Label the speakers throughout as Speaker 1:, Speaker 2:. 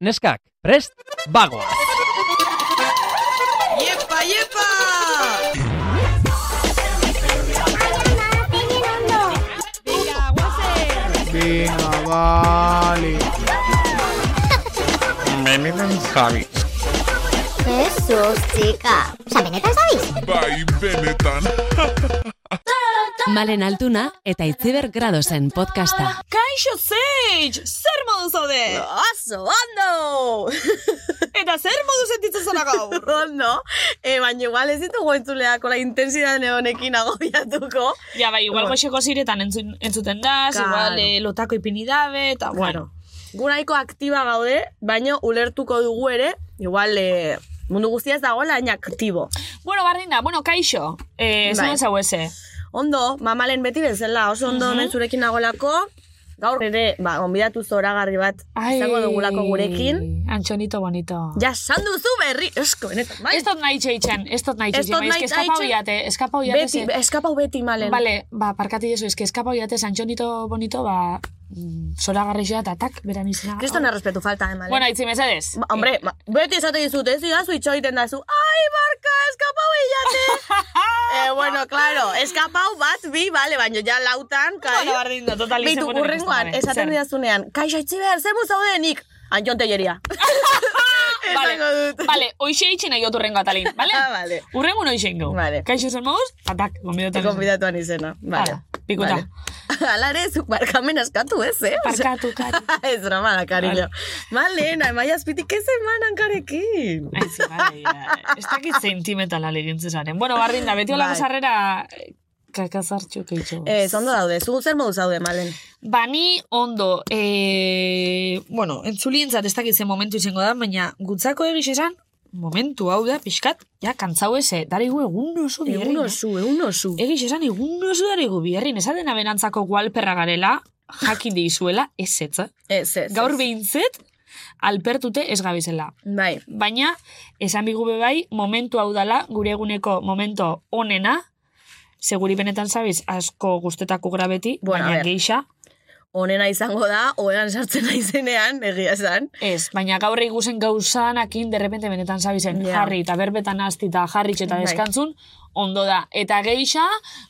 Speaker 1: neskak, prest, bagoaz!
Speaker 2: Iepa, iepa!
Speaker 3: Venga, vale.
Speaker 4: Jesus, txika. Osa, benetan zabiz?
Speaker 5: Bai, benetan.
Speaker 6: Malen Altuna eta Itziber Gradosen podcasta.
Speaker 7: Kaixo Sage, zer modu zaude?
Speaker 2: Oso, ondo!
Speaker 7: Eta zer modu sentitzen zara gaur?
Speaker 2: ondo, e, baina igual ez ditugu entzuleak la intensidade honekin agobiatuko.
Speaker 7: ja, bai, igual goxeko ziretan entzun, entzuten da,
Speaker 2: Claro.
Speaker 7: igual eh, lotako ipinidabe, eta bueno.
Speaker 2: Gunaiko aktiba gaude, baina ulertuko dugu ere, igual e, mundu guztia ez dagoela, baina aktibo.
Speaker 7: Bueno, Bardina, bueno, kaixo, eh,
Speaker 2: Bai.
Speaker 7: bai. zuen eze.
Speaker 2: Ondo, mamalen beti bezala, oso ondo
Speaker 7: Mhm.
Speaker 2: hemen zurekin nagolako, gaur ere, ba, onbidatu zoragarri bat izango dugulako gurekin.
Speaker 7: Antxonito bonito.
Speaker 2: Ja, san duzu berri, esko, benetan, bai?
Speaker 7: Ez dut nahi txeitzen, ez dut nahi
Speaker 2: Ez
Speaker 7: txeitzen,
Speaker 2: dut
Speaker 7: bai,
Speaker 2: nahi
Speaker 7: eske eskapau
Speaker 2: txeitzen.
Speaker 7: iate, eskapau iate.
Speaker 2: Beti, eskapau beti, malen.
Speaker 7: Vale, ba, parkati dezu, eske eskapau iate, Antxonito bonito, ba, mm, zora garrixoa eta tak, beran izena.
Speaker 2: Kriston errespetu falta, eh, malen.
Speaker 7: Bueno, itzi, mesedez.
Speaker 2: Ba, hombre, ba, beti esate dizut, ez idazu itxo egiten dazu, ai, barka, eskapau hilate! eh, bueno, claro, eskapau bat, bi, bale, baino, ja lautan, kai.
Speaker 7: Bueno, bardin da, total,
Speaker 2: Beitu,
Speaker 7: izen poten
Speaker 2: urrengoan,
Speaker 7: ez da,
Speaker 2: esaten
Speaker 7: zer?
Speaker 2: didazunean, kaixo itxi behar, zer zaudenik? Antxon teieria. Ah, Esango dut.
Speaker 7: Vale, hoxe itxen nahi gotu rengo atalin, vale?
Speaker 2: Ah, vale.
Speaker 7: Urrengo noiz ingo.
Speaker 2: Vale.
Speaker 7: Kaixo zen moduz, atak, gombidatu.
Speaker 2: Konbidatuan izena, bale.
Speaker 7: Hala, pikuta.
Speaker 2: Vale. Ala ere, zuk barkamen askatu ez, eh?
Speaker 7: Barkatu, kari.
Speaker 2: ez drama da, cariño. Vale, nahi maia azpitik ez emanan karekin.
Speaker 7: Aizi, vale, ya. Ez dakit sentimentala legintze zaren. Bueno, bardin da, beti olako
Speaker 2: Bai.
Speaker 7: sarrera kakazartxo keitxo.
Speaker 2: Ez, Eh, ondo daude, zu zer modu zaude, malen.
Speaker 7: Bani Ba, ondo, e, bueno, entzulientzat ez dakit ze momentu izango da, baina gutzako egiz esan, momentu hau da, pixkat, ja, kantzau eze, darigu egun oso biherrin,
Speaker 2: Egun
Speaker 7: eh?
Speaker 2: osu, egun osu.
Speaker 7: Egiz esan, egun oso darigu biherrin, esaten abenantzako gualperra garela, jakin dizuela, ez ez, eh?
Speaker 2: Ez, ez.
Speaker 7: Gaur
Speaker 2: ez.
Speaker 7: behintzet, alpertute ez gabizela.
Speaker 2: Bai.
Speaker 7: Baina, esan bigu be bai, momentu hau dala, gure eguneko momento onena, seguri benetan zabiz, asko guztetako grabeti,
Speaker 2: Bueno, a
Speaker 7: baina
Speaker 2: ber.
Speaker 7: geixa,
Speaker 2: Onena izango da, oean sartzen naizenean, egia esan.
Speaker 7: Ez, baina gaur iguzen gauzanakin derrepente benetan zabizen
Speaker 2: Ja.
Speaker 7: jarri eta berbetan hasti eta jarri eta
Speaker 2: Bai.
Speaker 7: deskantzun, ondo da. Eta geixa,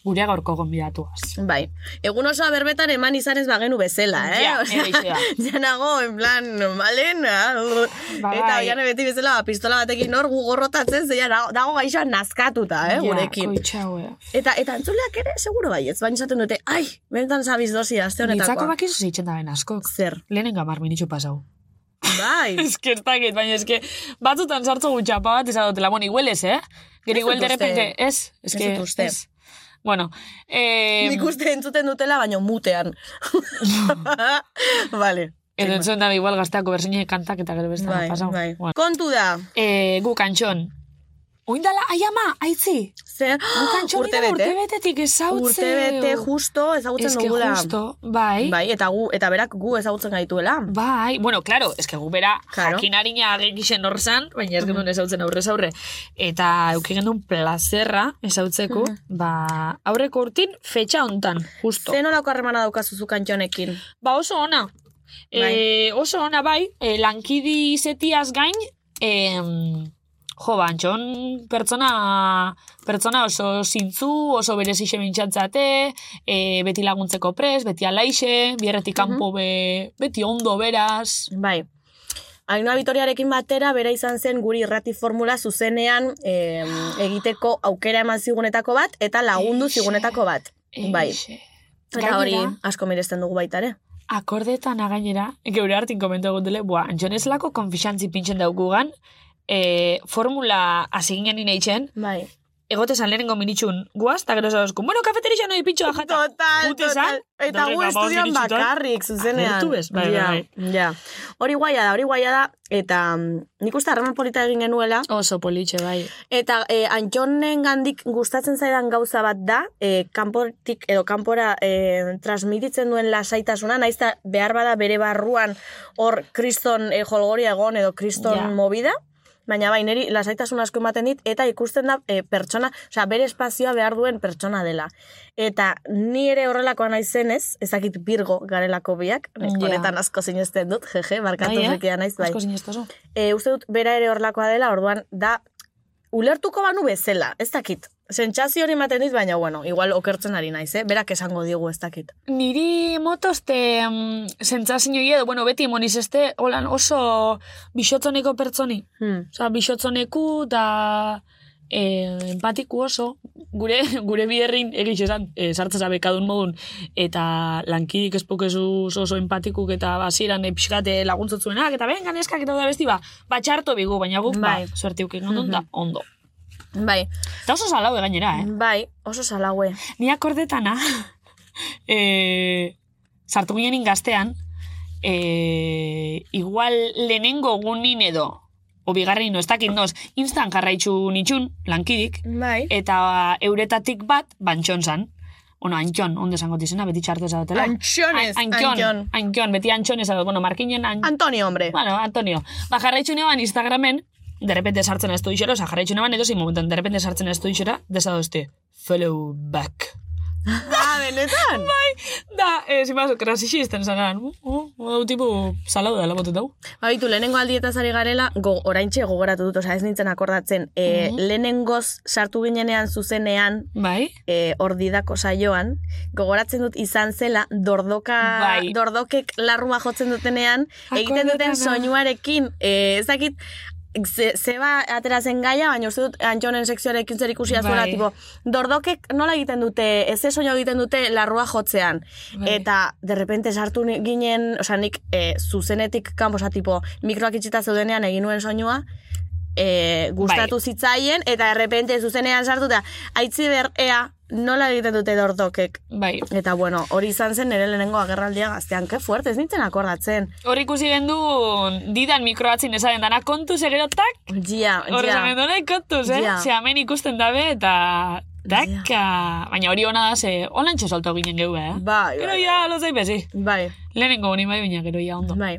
Speaker 7: gure gaurko gonbidatuaz.
Speaker 2: Bai. Egun osoa berbetan eman izan ez bagenu bezala, eh?
Speaker 7: Ja,
Speaker 2: Osea,
Speaker 7: egia.
Speaker 2: ja nago, en plan, normalen,
Speaker 7: Ba,
Speaker 2: eta
Speaker 7: bai.
Speaker 2: oian beti bezala pistola batekin hor gugorrotatzen, zeia dago, dago gaixoa nazkatuta, eh, gurekin.
Speaker 7: koitxaue.
Speaker 2: Eta, eta entzuleak ere, seguro bai, ez baina esaten dute, ai, benetan sabiz dosia, aste
Speaker 7: Nitzako
Speaker 2: honetakoa.
Speaker 7: bakizu zeitzen da ben askok.
Speaker 2: Zer,
Speaker 7: Lehenen gamar minitxo pasau.
Speaker 2: bai.
Speaker 7: Ez que ez dakit, baina ez que batzutan sartzo gutxapa bat izan dutela. Bueno, iguel ez, eh? Gero
Speaker 2: Ez
Speaker 7: iguel
Speaker 2: dut uste.
Speaker 7: derrepente, ez? Ez
Speaker 2: Ez
Speaker 7: que,
Speaker 2: dut uste.
Speaker 7: ez. Bueno, eh,
Speaker 2: Nik uste entzuten dutela, baino mutean. vale.
Speaker 7: edo entzun da igual gazteako berzine kantak eta gero bestana
Speaker 2: Bai,
Speaker 7: pasau.
Speaker 2: bai.
Speaker 7: Bueno.
Speaker 2: Kontu da,
Speaker 7: e, gu kantxon. Oindala, aiama, aitzi.
Speaker 2: Zer?
Speaker 7: Gu kantxon urte
Speaker 2: urtebete?
Speaker 7: urtebetetik ezautzen.
Speaker 2: Urtebete justo ezagutzen
Speaker 7: Eske
Speaker 2: dugula.
Speaker 7: justo, bai.
Speaker 2: Bai, eta gu eta berak gu ezagutzen gaituela.
Speaker 7: Bai, bueno, claro, eske gu bera
Speaker 2: Claro.
Speaker 7: jakin harina agekixen hor zan, baina ez genuen ezautzen aurrez aurre. Eta euki genuen plazerra ezautzeko,
Speaker 2: Hmm.
Speaker 7: ba, aurreko urtin fetxa hontan, justo.
Speaker 2: Zen olako harremana daukazu zu kantxonekin.
Speaker 7: Ba oso ona.
Speaker 2: Bai.
Speaker 7: E, oso ona bai, e, lankidi izetiaz gain, e, jo, ba, antxon pertsona, pertsona oso zintzu, oso berezixe bintxatzate, e, beti laguntzeko pres, beti alaixe, bierretik kanpo be, beti ondo beraz.
Speaker 2: Bai. Ainhoa Bitoriarekin batera, bera izan zen guri irrati formula zuzenean em, egiteko aukera eman zigunetako bat, eta lagundu
Speaker 7: Ah. Eixe.
Speaker 2: zigunetako bat. Bai.
Speaker 7: Eixe.
Speaker 2: Eta hori
Speaker 7: Gainera-
Speaker 2: asko miresten dugu baitare.
Speaker 7: akordetan againera, geure hartin komento gutele, bua, antxonez lako konfixantzi pintxen daukugan, e, formula hasi ginen ineitzen,
Speaker 2: Bai.
Speaker 7: egote zan lehenengo minitxun guaz, eta gero zauzkun, bueno, kafeteria noi pitxoa jata.
Speaker 2: Total,
Speaker 7: Gute
Speaker 2: total.
Speaker 7: zan,
Speaker 2: Eta
Speaker 7: dorre,
Speaker 2: gu
Speaker 7: ba, bost
Speaker 2: estudioan
Speaker 7: minutxutan.
Speaker 2: bakarrik, zuzenean.
Speaker 7: Agertu bez, bai, bai,
Speaker 2: Ja, ja. Hori guaia da, hori guaia da, eta mm, nik uste harreman polita egin genuela,
Speaker 7: Oso politxe, bai.
Speaker 2: eta e, antxonen gandik gustatzen zaidan gauza bat da, e, kanportik edo kanpora e, transmititzen duen lasaitasuna, naiz eta behar bada bere barruan hor kriston e, jolgoria egon edo kriston
Speaker 7: Ja.
Speaker 2: movida, baina bai, niri lasaitasun asko ematen dit, eta ikusten da e, pertsona, osea, bere espazioa behar duen pertsona dela. Eta ni ere horrelakoa naizenez, ezakit birgo garelako biak, nik
Speaker 7: Ja.
Speaker 2: Bai, honetan asko sinesten dut, jeje, barkatu
Speaker 7: eh?
Speaker 2: zikea naiz, bai.
Speaker 7: Asko sinestoso.
Speaker 2: E, uste dut, bera ere horrelakoa dela, orduan, da, ulertuko banu bezala, ez dakit. Sentsazio hori ematen dit, baina, bueno, igual okertzen ari naiz, eh? Berak esango digu ez dakit.
Speaker 7: Niri motoste mm, sentsazio edo, bueno, beti moniz este, holan oso bisotzoneko pertsoni.
Speaker 2: Hmm.
Speaker 7: Osa, bisotzoneku eta eh, empatiku oso. Gure, gure biherrin egiz esan, eh, sartza zabekadun modun, eta lankidik espokezu oso empatikuk eta basiran eh, pixkate laguntzotzuenak, eta bengan eskak eta da besti ba, batxarto bigu, baina guk,
Speaker 2: Bai.
Speaker 7: ba, suertiuk egin dut, da, ondo.
Speaker 2: Bai,
Speaker 7: Eta oso salaue gainera, eh?
Speaker 2: bai, oso salaue.
Speaker 7: Ni akordetana, e, sartu ginen gaztean, e, igual lehenengo gunin edo, obigarri no, ez dakit noz, instan jarraitzu nitxun, lankidik,
Speaker 2: Bai.
Speaker 7: eta euretatik bat, bantxon zan. Ono, antxon, ondo esango dizena, beti txarto esabatela.
Speaker 2: Antxonez,
Speaker 7: antxon.
Speaker 2: antxon.
Speaker 7: Antxon, beti antxon esabat, bueno, markinen an-
Speaker 2: Antonio, hombre.
Speaker 7: Bueno, Antonio, ba, jarraitxu neban Instagramen, de repente sartzen ez du isero, oza, jarraitxu neban edo zein momentan, de repente sartzen ez du isera, desadoste, follow back.
Speaker 2: Ah, benetan?
Speaker 7: Da, eh, zimaz, krasixisten zanan, uh, uh, hau tipu salau da, labotu dau.
Speaker 2: Baitu, Bai, lehenengo aldietaz ari garela, go, oraintxe gogoratu dut, oza, ez nintzen akordatzen, e, lehenengoz sartu ginenean zuzenean,
Speaker 7: Mhm. Bai?
Speaker 2: e, ordidako saioan, gogoratzen dut izan zela, dordoka,
Speaker 7: Bai.
Speaker 2: dordokek larrua jotzen dutenean, egiten duten
Speaker 7: Akordetana.
Speaker 2: soinuarekin, e, ez dakit, ze, zeba atera zen gaia, baina uste dut antxonen sekzioarekin zer ikusi azuela,
Speaker 7: Bai.
Speaker 2: tipo, dordokek nola egiten dute, ez ez soinu egiten dute larrua jotzean.
Speaker 7: Bai.
Speaker 2: Eta, derrepente sartu ni- ginen, oza, nik e, zuzenetik kanpo, oza, tipo, mikroak itxita zeudenean egin nuen soinua, e, gustatu zitzaien, eta errepente zuzenean sartu, eta aitzi berrea nola egiten dute dordokek.
Speaker 7: Bai.
Speaker 2: Eta bueno, hori izan zen nire lehenengo agerraldia gaztean, ke fuerte, ez nintzen akordatzen.
Speaker 7: Hor ikusi gendu didan mikroatzin esaren dana kontuz erero tak,
Speaker 2: Gia,
Speaker 7: Horre
Speaker 2: gia.
Speaker 7: esamen dona kontuz, eh?
Speaker 2: Ja.
Speaker 7: Ze hemen ikusten dabe eta... Daka, baina hori hona da, ze holan txosalto ginen geu, eh?
Speaker 2: Bai,
Speaker 7: Gero
Speaker 2: bai,
Speaker 7: ja, lozai bezi.
Speaker 2: Bai,
Speaker 7: Lehenengo honi bai, baina gero ja ondo.
Speaker 2: bai.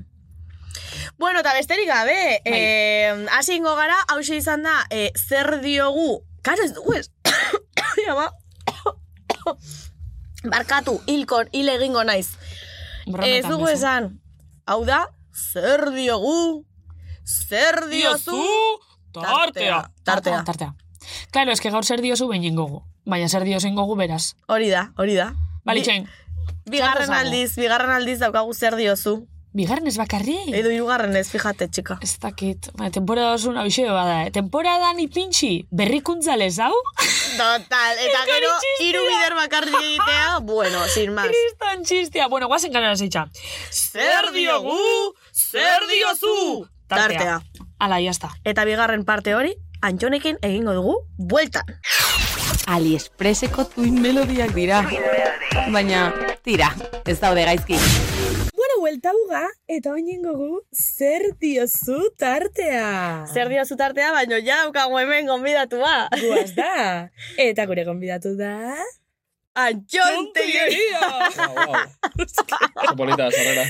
Speaker 2: Bueno, eta besterik gabe,
Speaker 7: Bai.
Speaker 2: eh, hasi ingo gara, hause izan da, eh, zer diogu, karo ez dugu ez, Ja, ba. barkatu, hilkon, hil egingo naiz. Ez
Speaker 7: Brometan
Speaker 2: dugu
Speaker 7: bezu.
Speaker 2: esan. Hau da, zer diogu, zer diozu.
Speaker 7: tartea.
Speaker 2: Tartea.
Speaker 7: Ah, tartea. Claro, eske gaur zer diozu behin gogu. Baina zer diozu ingogu beraz.
Speaker 2: Hori da, hori da. Bi-
Speaker 7: Balitxain,
Speaker 2: Bigarren
Speaker 7: Zartazago.
Speaker 2: aldiz, bigarren aldiz daukagu zer diozu.
Speaker 7: bigarren ez bakarri.
Speaker 2: Edo hirugarren ez, fijate, txika.
Speaker 7: Ez dakit, ba, temporada osun hauxe bada. eh. Temporadan ipintxi, berrikuntza lezau?
Speaker 2: Total, eta gero,
Speaker 7: txistea.
Speaker 2: hiru bider bakarrik egitea, bueno, sin más.
Speaker 7: Kriston txistia. Bueno, guazen kanera zeitza.
Speaker 2: Zer diogu, zer diozu. Tartea.
Speaker 7: Ala, jazta.
Speaker 2: Eta bigarren parte hori, Antxonekin egingo dugu, bueltan.
Speaker 8: Aliexpreseko tuin melodiak dira. Baina, tira, ez daude gaizki.
Speaker 9: Bueno, huelta buga, ah? eta oinen gogu, zer diozu tartea.
Speaker 2: Zer diozu tartea, baino ja daukagu hemen gonbidatua.
Speaker 9: Guaz da. Eta gure gonbidatu da...
Speaker 2: Antxon teoria.
Speaker 1: Oso polita, zorrera.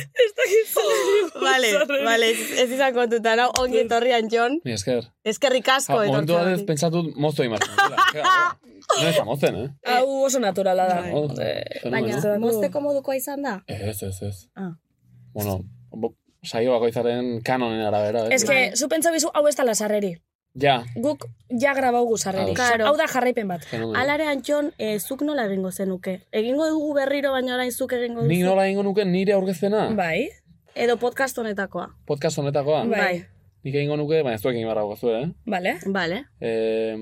Speaker 2: Vale, vale, ez- ez izan kontuta, nau, ongi etorri Antxon.
Speaker 1: Mi esker.
Speaker 2: Eskerrik
Speaker 1: Ja,
Speaker 2: asko
Speaker 1: momentu batez
Speaker 2: etortzen.
Speaker 1: pentsatut mozto imartzen. No ez da mozen, eh?
Speaker 9: Hau oso naturala
Speaker 2: Bai,
Speaker 9: da.
Speaker 1: Oh, fenomeno.
Speaker 2: mozteko modukoa izan da?
Speaker 1: eh? Ez, ez, ez.
Speaker 2: Ah.
Speaker 1: Bueno, bo- saio bakoitzaren kanonen arabera. eh?
Speaker 9: Ez que, zu pentsa bizu, hau ez da lasarreri.
Speaker 1: Ja,
Speaker 9: Guk, ja grabaugu sarreri.
Speaker 1: Ah,
Speaker 2: Claro.
Speaker 9: Hau da jarraipen bat.
Speaker 1: fenomeno.
Speaker 2: Alare Antxon, eh, zuk nola egingo zenuke? Egingo dugu berriro, baina orain zuk egingo duzu?
Speaker 1: Nik nola ingo nuke nire aurkezpena?
Speaker 9: Bai?
Speaker 2: Edo podcast honetakoa.
Speaker 1: Podcast honetakoa.
Speaker 9: Bai.
Speaker 1: Nik egingo nuke, baina ez duekin barra gozue, eh?
Speaker 9: Bale?
Speaker 2: Vale.
Speaker 1: Eh,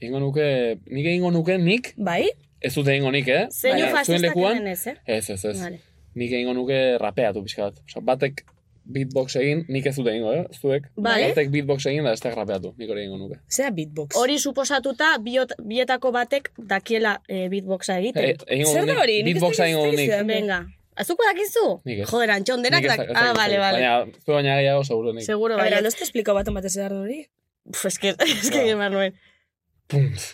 Speaker 1: Ingo nuke, nik egingo nuke nik,
Speaker 9: Bai?
Speaker 1: ez dute egingo nik, eh?
Speaker 2: Zeinu
Speaker 1: Baina, zuen
Speaker 2: fascistak
Speaker 1: lekuan-
Speaker 2: denez, eh?
Speaker 1: Ez, ez, ez.
Speaker 2: Vale.
Speaker 1: Nik egingo nuke rapeatu pixka bat. Osa, batek beatbox egin, nik ez dut egingo, eh? Zuek,
Speaker 2: Vale.
Speaker 1: batek beatbox egin da ez da rapeatu, nik hori egingo nuke.
Speaker 9: Zea beatbox.
Speaker 2: Hori suposatuta, biot, bietako batek dakiela eh, beatboxa egiten.
Speaker 1: E, egingo
Speaker 9: Zer da
Speaker 1: nik-
Speaker 9: hori? Nik ez
Speaker 1: Beatboxa
Speaker 9: dakit
Speaker 1: egingo
Speaker 9: zer
Speaker 1: nik.
Speaker 9: izan.
Speaker 2: Venga. Azuko dakizu?
Speaker 1: Nik ez.
Speaker 2: Joder, Antxon, denak
Speaker 1: Nik ez
Speaker 2: dak...
Speaker 1: dak- ez
Speaker 2: Ah,
Speaker 1: dakit
Speaker 2: vale,
Speaker 1: zer.
Speaker 2: vale.
Speaker 1: Baina, zu baina gehiago seguro nik.
Speaker 2: Seguro,
Speaker 9: A ver,
Speaker 2: bai.
Speaker 9: no te explico baten batez edar hori.
Speaker 2: Puf, es que, es que egin behar nuen.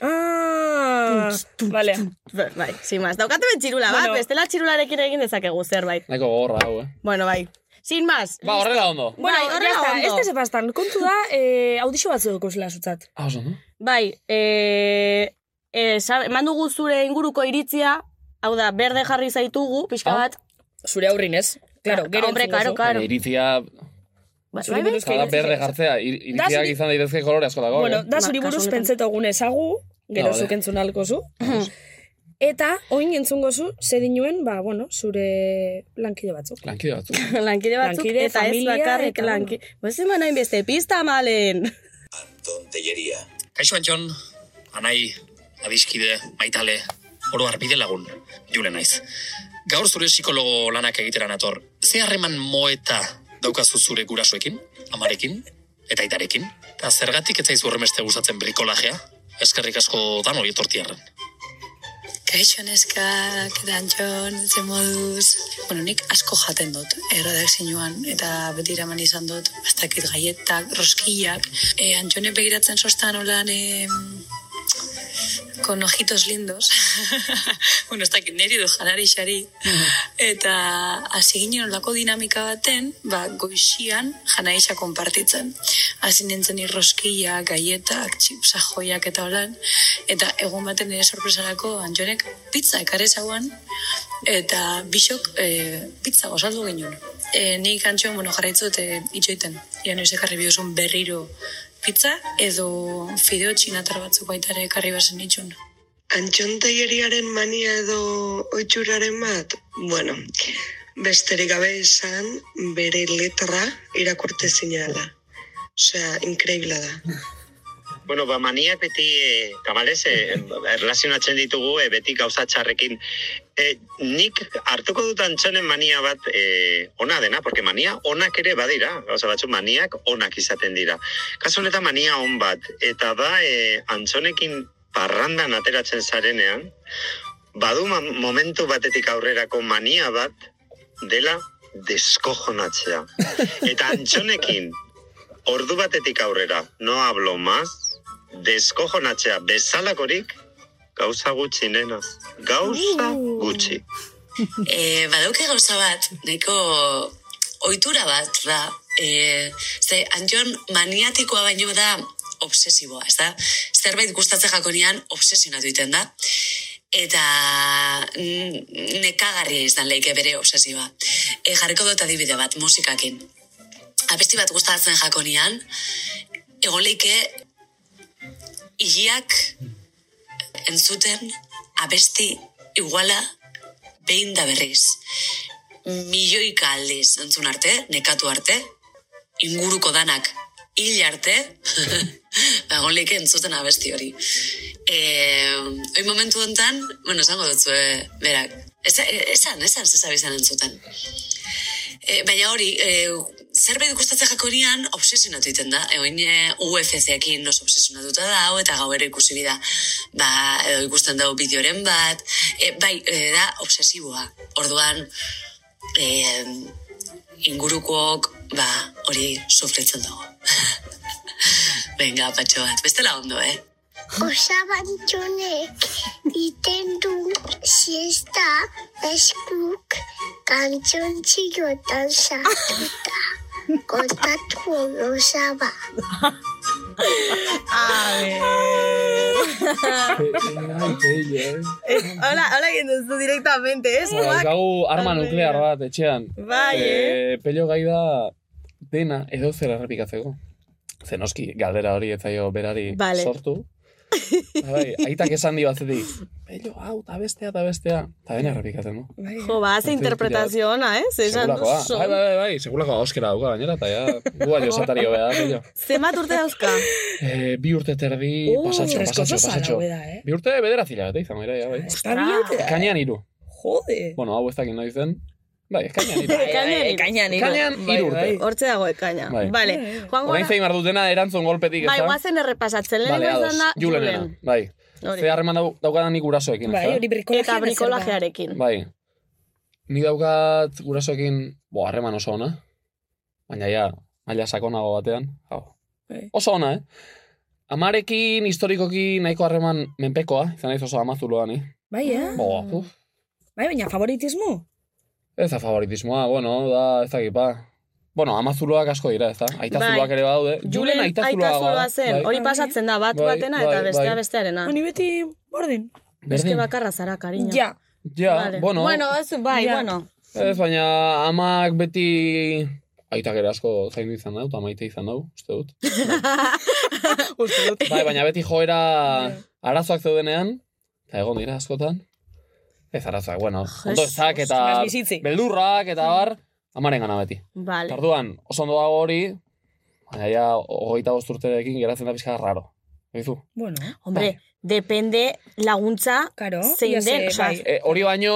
Speaker 9: Ah, vale.
Speaker 2: Ba- Bai, sin más. Daukate ben txirula bat,
Speaker 9: Bueno.
Speaker 2: bestela txirularekin egin dezakegu zerbait.
Speaker 1: Naiko gogorra hau, eh?
Speaker 2: Bueno, bai. Sin más.
Speaker 1: Ba, horrela ondo.
Speaker 2: Bai, horrela ondo.
Speaker 7: ez da zepaztan, kontu da, eh, audixo batzu dukuzela zutzat.
Speaker 1: Ah, oso, no?
Speaker 2: Bai, e, e, sab- eman dugu zure inguruko iritzia, hau da, berde jarri zaitugu, pixka
Speaker 1: Ah,
Speaker 2: bat.
Speaker 7: Zure aurrin ez? Claro, gero
Speaker 2: Hombre,
Speaker 7: entzungo
Speaker 2: karo,
Speaker 7: zu.
Speaker 2: karo.
Speaker 1: Nire iritzia,
Speaker 2: Bai,
Speaker 7: Zuri
Speaker 2: bai,
Speaker 7: buruzko
Speaker 1: zara
Speaker 7: iritzia.
Speaker 1: berde jartzea, ir, iritziak
Speaker 7: zuri-
Speaker 1: izan daitezke kolore asko dago.
Speaker 7: Bueno,
Speaker 1: eh?
Speaker 7: da zuri
Speaker 2: Ba, kasu
Speaker 7: buruz
Speaker 2: honetan.
Speaker 7: pentsetogun ezagu, gero
Speaker 1: Ah, vale.
Speaker 7: zuk entzun ahalko zu. Eta, oin entzungo zu, zer dinuen, ba, bueno, zure lankide batzuk.
Speaker 1: Lankide batzu.
Speaker 2: lankide batzuk
Speaker 7: Lankide,
Speaker 2: eta ez
Speaker 7: familia,
Speaker 2: bakarrik
Speaker 7: eta bueno.
Speaker 2: lanki. Bez eman hain beste pista malen.
Speaker 10: Tontelleria. Kaixo Antxon, anai, adiskide, maitale, oro arbide lagun, jule naiz. Gaur zure psikologo lanak egitera nator, ze harreman moeta daukazu zure gurasoekin, amarekin, eta aitarekin? Eta zergatik ez zaizu horremeste gustatzen brikolajea? Eskerrik asko dan hori etortiarren.
Speaker 6: Kaixo neskak, dantxon, ze moduz. Bueno, nik asko jaten dut, erredakzioan, eta beti iraman izan dut, ez dakit gaietak, roskillak. E, Antxone begiratzen sostan holan, e, con ojitos lindos. bueno, ez dakit niri du janari xari. Eta hasi ginen olako dinamika baten, ba, goixian janaisa konpartitzen. Hasi nintzen irroskila, gaietak, txipsa joiak eta holan. Eta egun baten nire sorpresarako antxonek pizza ekarri zauan. Eta bisok e, pizza gozaldu ginen. E, nik antxon, bueno, jarraitzut e, itxoiten. Ia noiz ekarri bidozun berriro pizza edo fideo txinatar batzuk baita ere ekarri bazen itxun.
Speaker 11: Antxon taieriaren mania edo oitxuraren bat, bueno, besterik gabe esan bere letra irakurte zinala. Osea, inkreibla da.
Speaker 3: Bueno, ba, mania beti, e, tamalez, e, erlazionatzen ditugu, e, beti gauza txarrekin. E, nik hartuko dut antxonen mania bat e, ona dena, porque mania onak ere badira, gauza batzu maniak onak izaten dira. Kasu honetan mania on bat, eta da e, antxonekin parrandan ateratzen zarenean, badu ma- momentu batetik aurrerako mania bat dela deskojonatzea. Eta antxonekin, ordu batetik aurrera, no hablo más, deskojonatzea bezalakorik, gauza gutxi nena, gauza gutxi.
Speaker 6: e, badauke gauza bat, nahiko ohitura bat da. E, ze, antxon maniatikoa baino da obsesiboa, ez da? Zerbait gustatzen jakonean obsesionatu egiten da. Eta mm, nekagarria izan leike bere obsesioa. E, jarriko dut adibide bat, musikakin. Abesti bat gustatzen jakonean, egon leike hileak entzuten abesti iguala behin da berriz. Milioika aldiz entzun arte, nekatu arte, inguruko danak hil arte, bagon leike entzuten abesti hori. E, oin momentu honetan, bueno, esango dutzu, e, berak, Eza- esan, esan, zezabizan entzuten. E, baina hori, e, zerbait ikustatzen jakorian obsesionatu egiten da. Egoin e, UFC-ekin oso obsesionatuta da, eta gauero ikusi bida, ba, edo ikusten dago bideoren bat, e, bai, e, da obsesiboa. Orduan, e, ingurukook, ba, hori sufritzen dago. Venga, patxo bat, bestela ondo, eh?
Speaker 4: Osabantxonek iten du siesta eskuk kantzontzilotan sartuta. Kontatu osaba.
Speaker 2: Hola, hola egin duzu directamente, ez?
Speaker 1: Bueno,
Speaker 2: Buak.
Speaker 1: Bai, Gau arma nuklear bat etxean.
Speaker 2: Bai,
Speaker 1: eh? Pello gai da dena edo zer errepikatzeko. Ze noski, galdera hori ez zaio berari
Speaker 2: Vale.
Speaker 1: sortu. Ba, Bai, aitak esan dio atzetik. Pello, hau, eta bestea, eta bestea. Eta dena errepikatzen du.
Speaker 2: Jo, ba, ze interpretazio ona, ez? Esan
Speaker 1: Segulakoa.
Speaker 2: duzu.
Speaker 1: Bai, bai, bai, bai, segulakoa oskera dauka gainera, eta ja, gu baino satario bea, pello.
Speaker 2: Zemat urte dauzka?
Speaker 1: Eh, bi urte terdi,
Speaker 2: Uh,
Speaker 1: pasatxo,
Speaker 2: freskoso
Speaker 1: pasatxo,
Speaker 2: zara,
Speaker 1: pasatxo.
Speaker 2: beda, eh?
Speaker 1: Bi urte bederatzi lagete izan, gara, ja, bai. Kainan iru.
Speaker 7: Jode.
Speaker 1: Bueno, hau ez dakit noiz den. Bai, kainan iru.
Speaker 2: Ekainan hiru.
Speaker 7: Ekainan
Speaker 1: hiru. Ekainan hiru Bai, urte. bai.
Speaker 2: Hortze dago ekaina.
Speaker 1: Bai.
Speaker 2: Vale. Juan
Speaker 1: Orain
Speaker 2: gora,
Speaker 1: zein behar dut dena erantzun golpetik,
Speaker 2: bai,
Speaker 1: ezta?
Speaker 2: guazen errepasatzen.
Speaker 1: Vale,
Speaker 2: Lehenengo
Speaker 1: ados.
Speaker 2: izan da,
Speaker 1: Julenena,
Speaker 2: Julen.
Speaker 1: bai.
Speaker 2: Hori.
Speaker 1: Ze harreman dau, daukadan nik gurasoekin,
Speaker 2: Bai,
Speaker 1: ezta?
Speaker 2: hori brikolajean Eta brikolajearekin. bezala.
Speaker 1: Bai. Nik daukat gurasoekin, bo, harreman oso ona. Baina ja, maila sakonago batean. Hau.
Speaker 7: Bai.
Speaker 1: Oso ona, eh? Amarekin, historikoki, nahiko harreman menpekoa, izan naiz oso amazuloa, ni.
Speaker 7: Bai, eh?
Speaker 1: Bo, uf.
Speaker 7: Bai, baina favoritismo?
Speaker 1: Ez da favoritismoa, bueno, da, ez dakit, ba. Bueno, ama zuloak asko dira, ezta? Aita
Speaker 2: Bai.
Speaker 1: zuloak ere badaude. Julen bai. aita zuloa
Speaker 2: zuloa zen, hori pasatzen da, bat
Speaker 1: Bai,
Speaker 2: batena eta
Speaker 1: bai,
Speaker 2: bestea
Speaker 1: bai.
Speaker 2: bestearena.
Speaker 7: Honi beti bordin.
Speaker 2: Beste
Speaker 1: Berdin.
Speaker 2: bakarra zara, kariño.
Speaker 7: Ja.
Speaker 1: Ja, bueno.
Speaker 2: Bueno, ez, bai,
Speaker 7: Ja.
Speaker 2: bueno.
Speaker 1: Ez, baina amak beti... Aitak ere asko zaindu izan dut, amaite izan dut, uste dut. Bai, baina beti joera arazoak zeudenean, eta egon dira askotan. Ez arazoak, bueno, ondo ezak eta
Speaker 2: Las bizitzi.
Speaker 1: beldurrak eta bar, amaren gana beti.
Speaker 2: Vale.
Speaker 1: Tarduan, oso ondo dago hori, baina ja, ogoita bosturterekin geratzen da pixka bat raro. Egizu?
Speaker 7: Bueno.
Speaker 1: Bai.
Speaker 2: Hombre, depende laguntza zein
Speaker 7: ia
Speaker 2: den.
Speaker 7: ze,
Speaker 2: osea,
Speaker 7: bai.
Speaker 1: E, hori baino,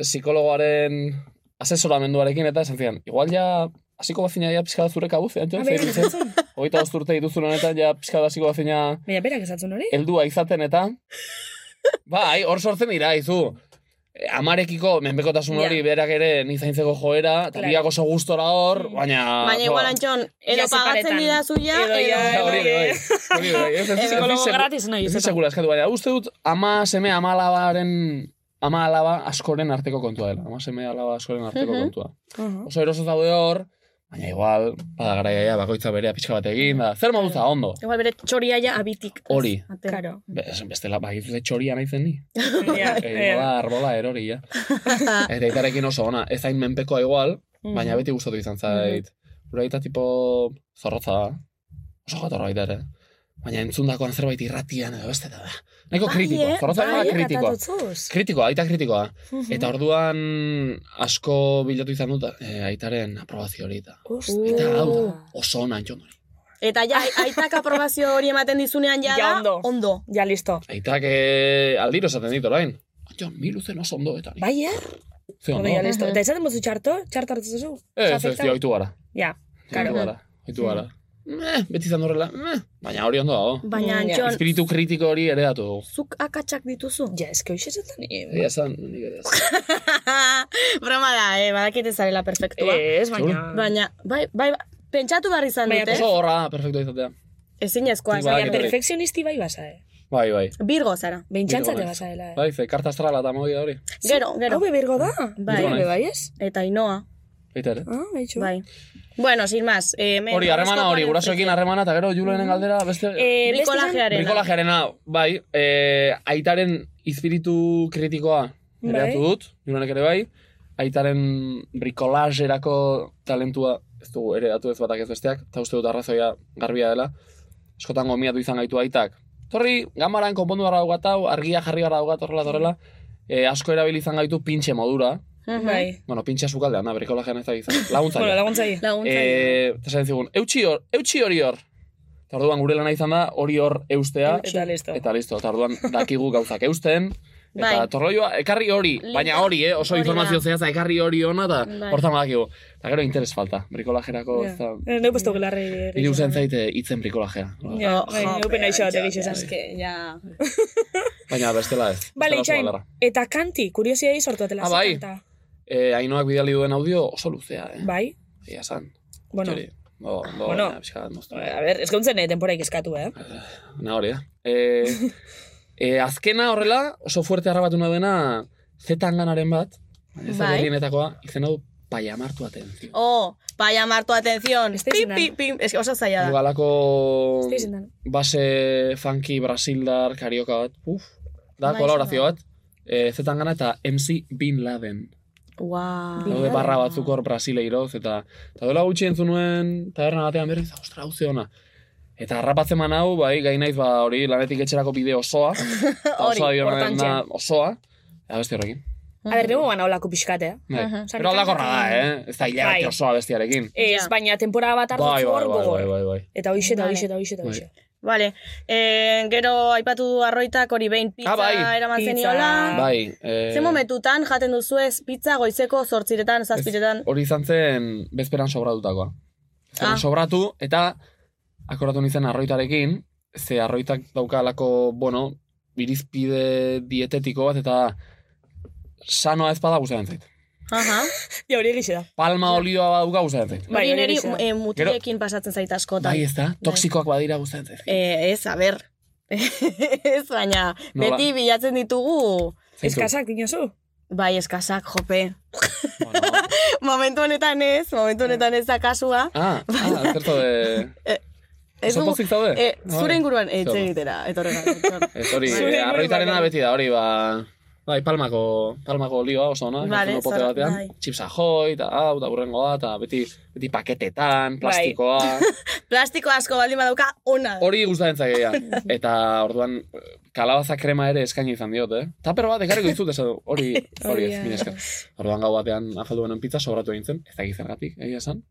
Speaker 1: psikologoaren asesoramenduarekin eta esan zidan, igual ja, hasiko bazina ja pixka bat zure kabuz, Antxon,
Speaker 7: A ber,
Speaker 1: zein zen, ogoita bosturte dituzun honetan, ja pixka bat hasiko bazina
Speaker 7: Baina, berak esatzen hori?
Speaker 1: heldua izaten eta bai, hor sortzen dira, izu. Eh, Amarekiko menpekotasun hori berak ere ni zaintzeko joera, eta
Speaker 2: Claro.
Speaker 1: biak oso gustora hor,
Speaker 7: Mm.
Speaker 1: baina
Speaker 2: Baina igual, Antxon, edo
Speaker 7: Ja
Speaker 2: pagatzen
Speaker 7: separetan.
Speaker 2: dira zuia,
Speaker 7: Edo
Speaker 2: edo...
Speaker 7: ja,
Speaker 1: Ja, Ah, hori ere bai. Hori ere bai. Ez- ez- ez- ez-
Speaker 12: Psikologo
Speaker 1: ez- ez-
Speaker 12: gratis nahi,
Speaker 1: Ez
Speaker 12: ez
Speaker 1: ez segura eskatu baina. Uste dut, ama seme, ama alabaren, ama alaba askoren arteko kontua dela. Ama seme alaba askoren arteko
Speaker 12: Mhm.
Speaker 1: kontua. Oso eroso zaude hor, baina igual, bada garaia ja, bakoitza berea pixka bat egin, da, zer moduza, ondo.
Speaker 2: Igual bere txoria ja abitik.
Speaker 1: Hori.
Speaker 2: Karo.
Speaker 1: Be- esan Bestela, bakitzu txoria nahi zen ni.
Speaker 7: Ja,
Speaker 1: Egingo da, arbola erori, ja. Eta itarekin oso ona, ez hain menpekoa igual, baina
Speaker 7: Mhm.
Speaker 1: beti gustatu izan zait. Gure aita tipo zorrotza da, oso jatorra aita ere. Baina entzundakoan zerbait irratian edo beste da. Neko
Speaker 7: Bai,
Speaker 1: kritikoa,
Speaker 7: eh?
Speaker 1: zorrotza
Speaker 7: Bai,
Speaker 1: da
Speaker 7: eh,
Speaker 1: kritikoa.
Speaker 7: katatotzuz.
Speaker 1: Kritikoa, aita kritikoa.
Speaker 7: Mhm.
Speaker 1: Eta orduan asko bilatu izan dut eh, aitaren aprobazio hori eta. Eta hau da, oso ona entzun hori.
Speaker 2: Uh. Eta ja, aitak aprobazio hori ematen dizunean ja, da, ondo.
Speaker 7: Ja, listo.
Speaker 1: Aitak eh, aldiro esaten dit orain. Antxon, mi luzen oso ondo eta ni.
Speaker 7: Bai, eh?
Speaker 1: Ze ondo.
Speaker 7: Hori, ja, listo. Eta izaten bozu txarto? Txarto hartu zuzu?
Speaker 1: Ez, ez,
Speaker 7: Txafekta?
Speaker 1: ja, oitu gara.
Speaker 7: Ja,
Speaker 1: Oitu gara,
Speaker 7: karo.
Speaker 1: oitu gara. Meh, beti izan horrela, Eh. meh. Baina hori ondo dago.
Speaker 2: Baina,
Speaker 7: Mm, ja.
Speaker 2: Antxon,
Speaker 1: Espiritu kritiko hori ere datu dugu.
Speaker 2: zuk akatsak dituzu.
Speaker 7: Ja, eske hoxe zaten
Speaker 1: Egia esan, nik ere ez.
Speaker 2: Broma da, eh, badakit ez zarela perfektua.
Speaker 7: Ez,
Speaker 1: baina-
Speaker 2: Baina, bai, bai, bai, pentsatu behar izan
Speaker 7: Baina,
Speaker 2: dute.
Speaker 1: Oso horra, perfectua izatea.
Speaker 2: Ezin ezkoa.
Speaker 1: Nik badakit hori.
Speaker 7: Perfekzionisti bai basa, eh?
Speaker 1: Bai, bai.
Speaker 2: Birgo zara.
Speaker 7: Beintxantzate
Speaker 1: Birgo naiz.
Speaker 7: basa dela, eh?
Speaker 1: Bai, ze, karta astrala eta mogia hori.
Speaker 2: Gero, gero.
Speaker 7: Hau bebergo da?
Speaker 2: Bai.
Speaker 1: Birgo naiz.
Speaker 7: bai, ez?
Speaker 2: Eta inoa.
Speaker 1: Eita ere.
Speaker 7: Ah, behitxu.
Speaker 2: Bai. Bueno, sin más. Eh, hemen
Speaker 1: Hori, harremana hori,
Speaker 2: horoskopoaren
Speaker 1: gurasoekin harremana, eta gero Julenen
Speaker 2: Mm.
Speaker 1: galdera, beste...
Speaker 7: Eh, Mm-hmm. beste izan-
Speaker 2: Brikolajearena.
Speaker 1: Brikolajearena, bai, eh, aitaren izpiritu kritikoa
Speaker 7: Bai.
Speaker 1: eratu dut, Julenek ere bai, aitaren brikolajerako talentua ez dugu ere datu ez batak ez besteak, eta uste dut arrazoia garbia dela, askotan gomiatu izan gaitu aitak. Torri, gamaran konpondu gara daugat hau, argia jarri gara daugat horrela torrela, eh, asko erabili izan gaitu pintxe modura,
Speaker 7: Bai.
Speaker 1: bueno, pintxe sukaldean, na, brikolajean ez da izan, laguntzaile.
Speaker 7: Bueno, laguntzaile.
Speaker 1: Eh, eta esan zigun, eutxi hor, eutxi hori hor. Eta orduan gure lana izan da, hori hor eustea.
Speaker 7: Eutxi. Eta listo.
Speaker 1: Eta listo, eta orduan dakigu gauzak eusten. Eta
Speaker 7: Bai.
Speaker 1: torroioa, ekarri hori, baina hori, eh, oso
Speaker 7: Hori da.
Speaker 1: informazio zehaza, ekarri hori ona, eta
Speaker 7: Bai.
Speaker 1: hortan badakigu. Eta gero interes falta, brikolajerako, ez da...
Speaker 7: Eh, Neu pestu gelarri.
Speaker 1: Iru zen zaite hitzen brikolajea.
Speaker 7: Ja,
Speaker 1: Oh,
Speaker 7: bai, neu pena iso bat egizu
Speaker 2: Ez
Speaker 7: esan.
Speaker 1: bai.
Speaker 2: que, ja...
Speaker 1: Baina bestela ez.
Speaker 7: Bale,
Speaker 1: bestela oso
Speaker 7: itxain,
Speaker 1: galarra.
Speaker 7: eta kanti, kuriosidei sortu atela.
Speaker 1: Ah,
Speaker 7: ze
Speaker 1: bai.
Speaker 7: kanta?
Speaker 1: Eh, Ainoak bidali duen audio oso luzea, eh?
Speaker 7: Bai.
Speaker 1: Ia san.
Speaker 7: Bueno.
Speaker 1: Hori, Bo,
Speaker 2: Ah,
Speaker 1: bo,
Speaker 7: Bueno.
Speaker 1: baina pixka bat moztu.
Speaker 7: A ber, eskauntzen eh, denporaik eskatu, eh?
Speaker 1: Na hori, eh? E, e, azkena
Speaker 2: Ah.
Speaker 1: horrela, oso fuerte harrabatu nahi dena, zetan ganaren bat, baina ez da
Speaker 2: Bai.
Speaker 1: berlinetakoa, izena du paiamartu atentzio.
Speaker 2: Oh, bai, amartu atención. Pim, pim, pim. Ez que oso zaila da.
Speaker 1: Galako
Speaker 2: Ah. Ez da izan.
Speaker 1: base funky brasildar karioka bat, uf, da
Speaker 2: Bai,
Speaker 1: kolaborazio bat, e, zetan gana eta MC Bin Laden.
Speaker 2: Wow.
Speaker 1: Daude barra batzuk hor brasileiroz, eta, eta dola gutxi entzun nuen taberna batean berriz, eta, ostra, hau ze ona. Eta harrapatzen man hau, bai, gai naiz, ba, hori, lanetik etxerako bide osoa. Eta
Speaker 7: Hori,
Speaker 1: osoa dio,
Speaker 7: hortantxe.
Speaker 1: na, osoa. Eta beste horrekin.
Speaker 7: A ber, neu ban haulako pixkat, eh?
Speaker 1: Bai.
Speaker 7: Aha.
Speaker 1: Pero aldakorra da, eh? Ez da hilabete
Speaker 7: Bai.
Speaker 1: osoa bestiarekin.
Speaker 7: Ez, baina temporada bat hartu
Speaker 1: Bai, bai,
Speaker 7: hor
Speaker 1: bai, bai,
Speaker 7: gogor.
Speaker 1: bai, bai.
Speaker 7: Eta hoxe, eta hoxe, eta hoxe, eta hoxe.
Speaker 2: Vale, eh, gero aipatu du arroitak hori behin pizza
Speaker 1: Ah, bai.
Speaker 2: eraman
Speaker 1: Pizza.
Speaker 2: zeniola.
Speaker 1: Bai, eh,
Speaker 2: Ze momentutan jaten duzu ez pizza goizeko zortziretan, zazpiretan.
Speaker 1: hori izan zen bezperan sobratutakoa. Bezperan
Speaker 2: Ah.
Speaker 1: sobratu, eta akoratu nintzen arroitarekin, ze arroitak daukalako, bueno, irizpide dietetiko bat, eta sanoa ez bada gustatzen zait.
Speaker 2: Aha.
Speaker 7: Ja, hori egixe da. Bai,
Speaker 1: Palma olioa baduka gustatzen zait.
Speaker 2: Bai, niri eh, mutilekin pasatzen zait askotan.
Speaker 1: Bai, ez da, toksikoak badira gustatzen zait.
Speaker 2: Eh, ez, a ber. ez, baina
Speaker 1: Nola?
Speaker 2: beti bilatzen ditugu
Speaker 1: Zeintzuk? Eskasak
Speaker 7: dinozu?
Speaker 2: Bai, eskasak, jope. momentu honetan ez, momentu honetan ez da kasua.
Speaker 1: Ah, ah, zerto de...
Speaker 2: Eh, Ez
Speaker 1: Oso
Speaker 2: dugu-
Speaker 1: pozik zaude?
Speaker 2: eh,
Speaker 1: Ah,
Speaker 2: zure
Speaker 1: vale.
Speaker 2: inguruan hitz
Speaker 1: Zoro.
Speaker 2: egitera, etorrega.
Speaker 1: Ez hori,
Speaker 2: Zure inguruan
Speaker 1: arroitarena
Speaker 2: bakarrik.
Speaker 1: beti da, hori, ba... Bai, palmako, palmako olioa oso ona,
Speaker 2: Vale,
Speaker 1: vale, pote
Speaker 2: zara,
Speaker 1: batean.
Speaker 2: bai.
Speaker 1: Chipsa joi, eta hau, eta burrengoa, eta beti, beti
Speaker 2: Bai.
Speaker 1: paketetan, plastikoa.
Speaker 2: Plastiko asko baldin badauka, ona.
Speaker 1: Hori gustatzen zaigea. Eta orduan kalabaza krema ere eskaini izan diot, eh? Taper bat ekarriko dizut esan du. Hori, hori ez,
Speaker 2: Hori,
Speaker 1: mila esker. Orduan gau batean afaldu benen pizza sobratu egin zen, ez dakit zergatik, egia esan.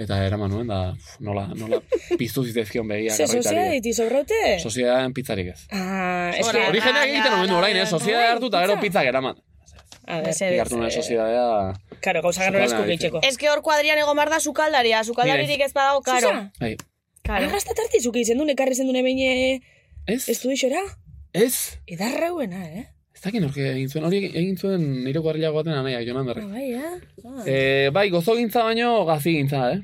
Speaker 1: Eta eraman nuen da uf, nola, nola piztu zitezkion begia
Speaker 7: Ze, sozia
Speaker 1: garraitari.
Speaker 7: diti sobraute?
Speaker 1: Soziadaden pizzarik ez.
Speaker 7: Ah, ez
Speaker 1: Hori jendeak egiten omen du orain, eh? Soziedadea hartu eta gero pizzak eraman.
Speaker 7: A ber,
Speaker 1: Nik hartu nuen soziedadea...
Speaker 7: Karo, gauza ganora esku
Speaker 1: Zukaldean
Speaker 7: gehitzeko.
Speaker 2: Ez que hor kuadrian egon behar da sukaldaria, sukaldaririk ez badago, karo.
Speaker 7: Zuza?
Speaker 1: Bai.
Speaker 2: Karo.
Speaker 7: Agasta tarte izuk egiten duen, ekarri zen duen behin eh?
Speaker 1: ez
Speaker 7: du isora?
Speaker 1: Ez?
Speaker 7: Edarrauena, eh?
Speaker 1: Ez dakit norke egin zuen, hori egin zuen nire guarrilago baten anaiak, jonan
Speaker 7: Ah,
Speaker 1: berrek.
Speaker 7: Bai, eh? Ah.
Speaker 1: Eh, bai, gozo gintza baino gazi gintza, eh?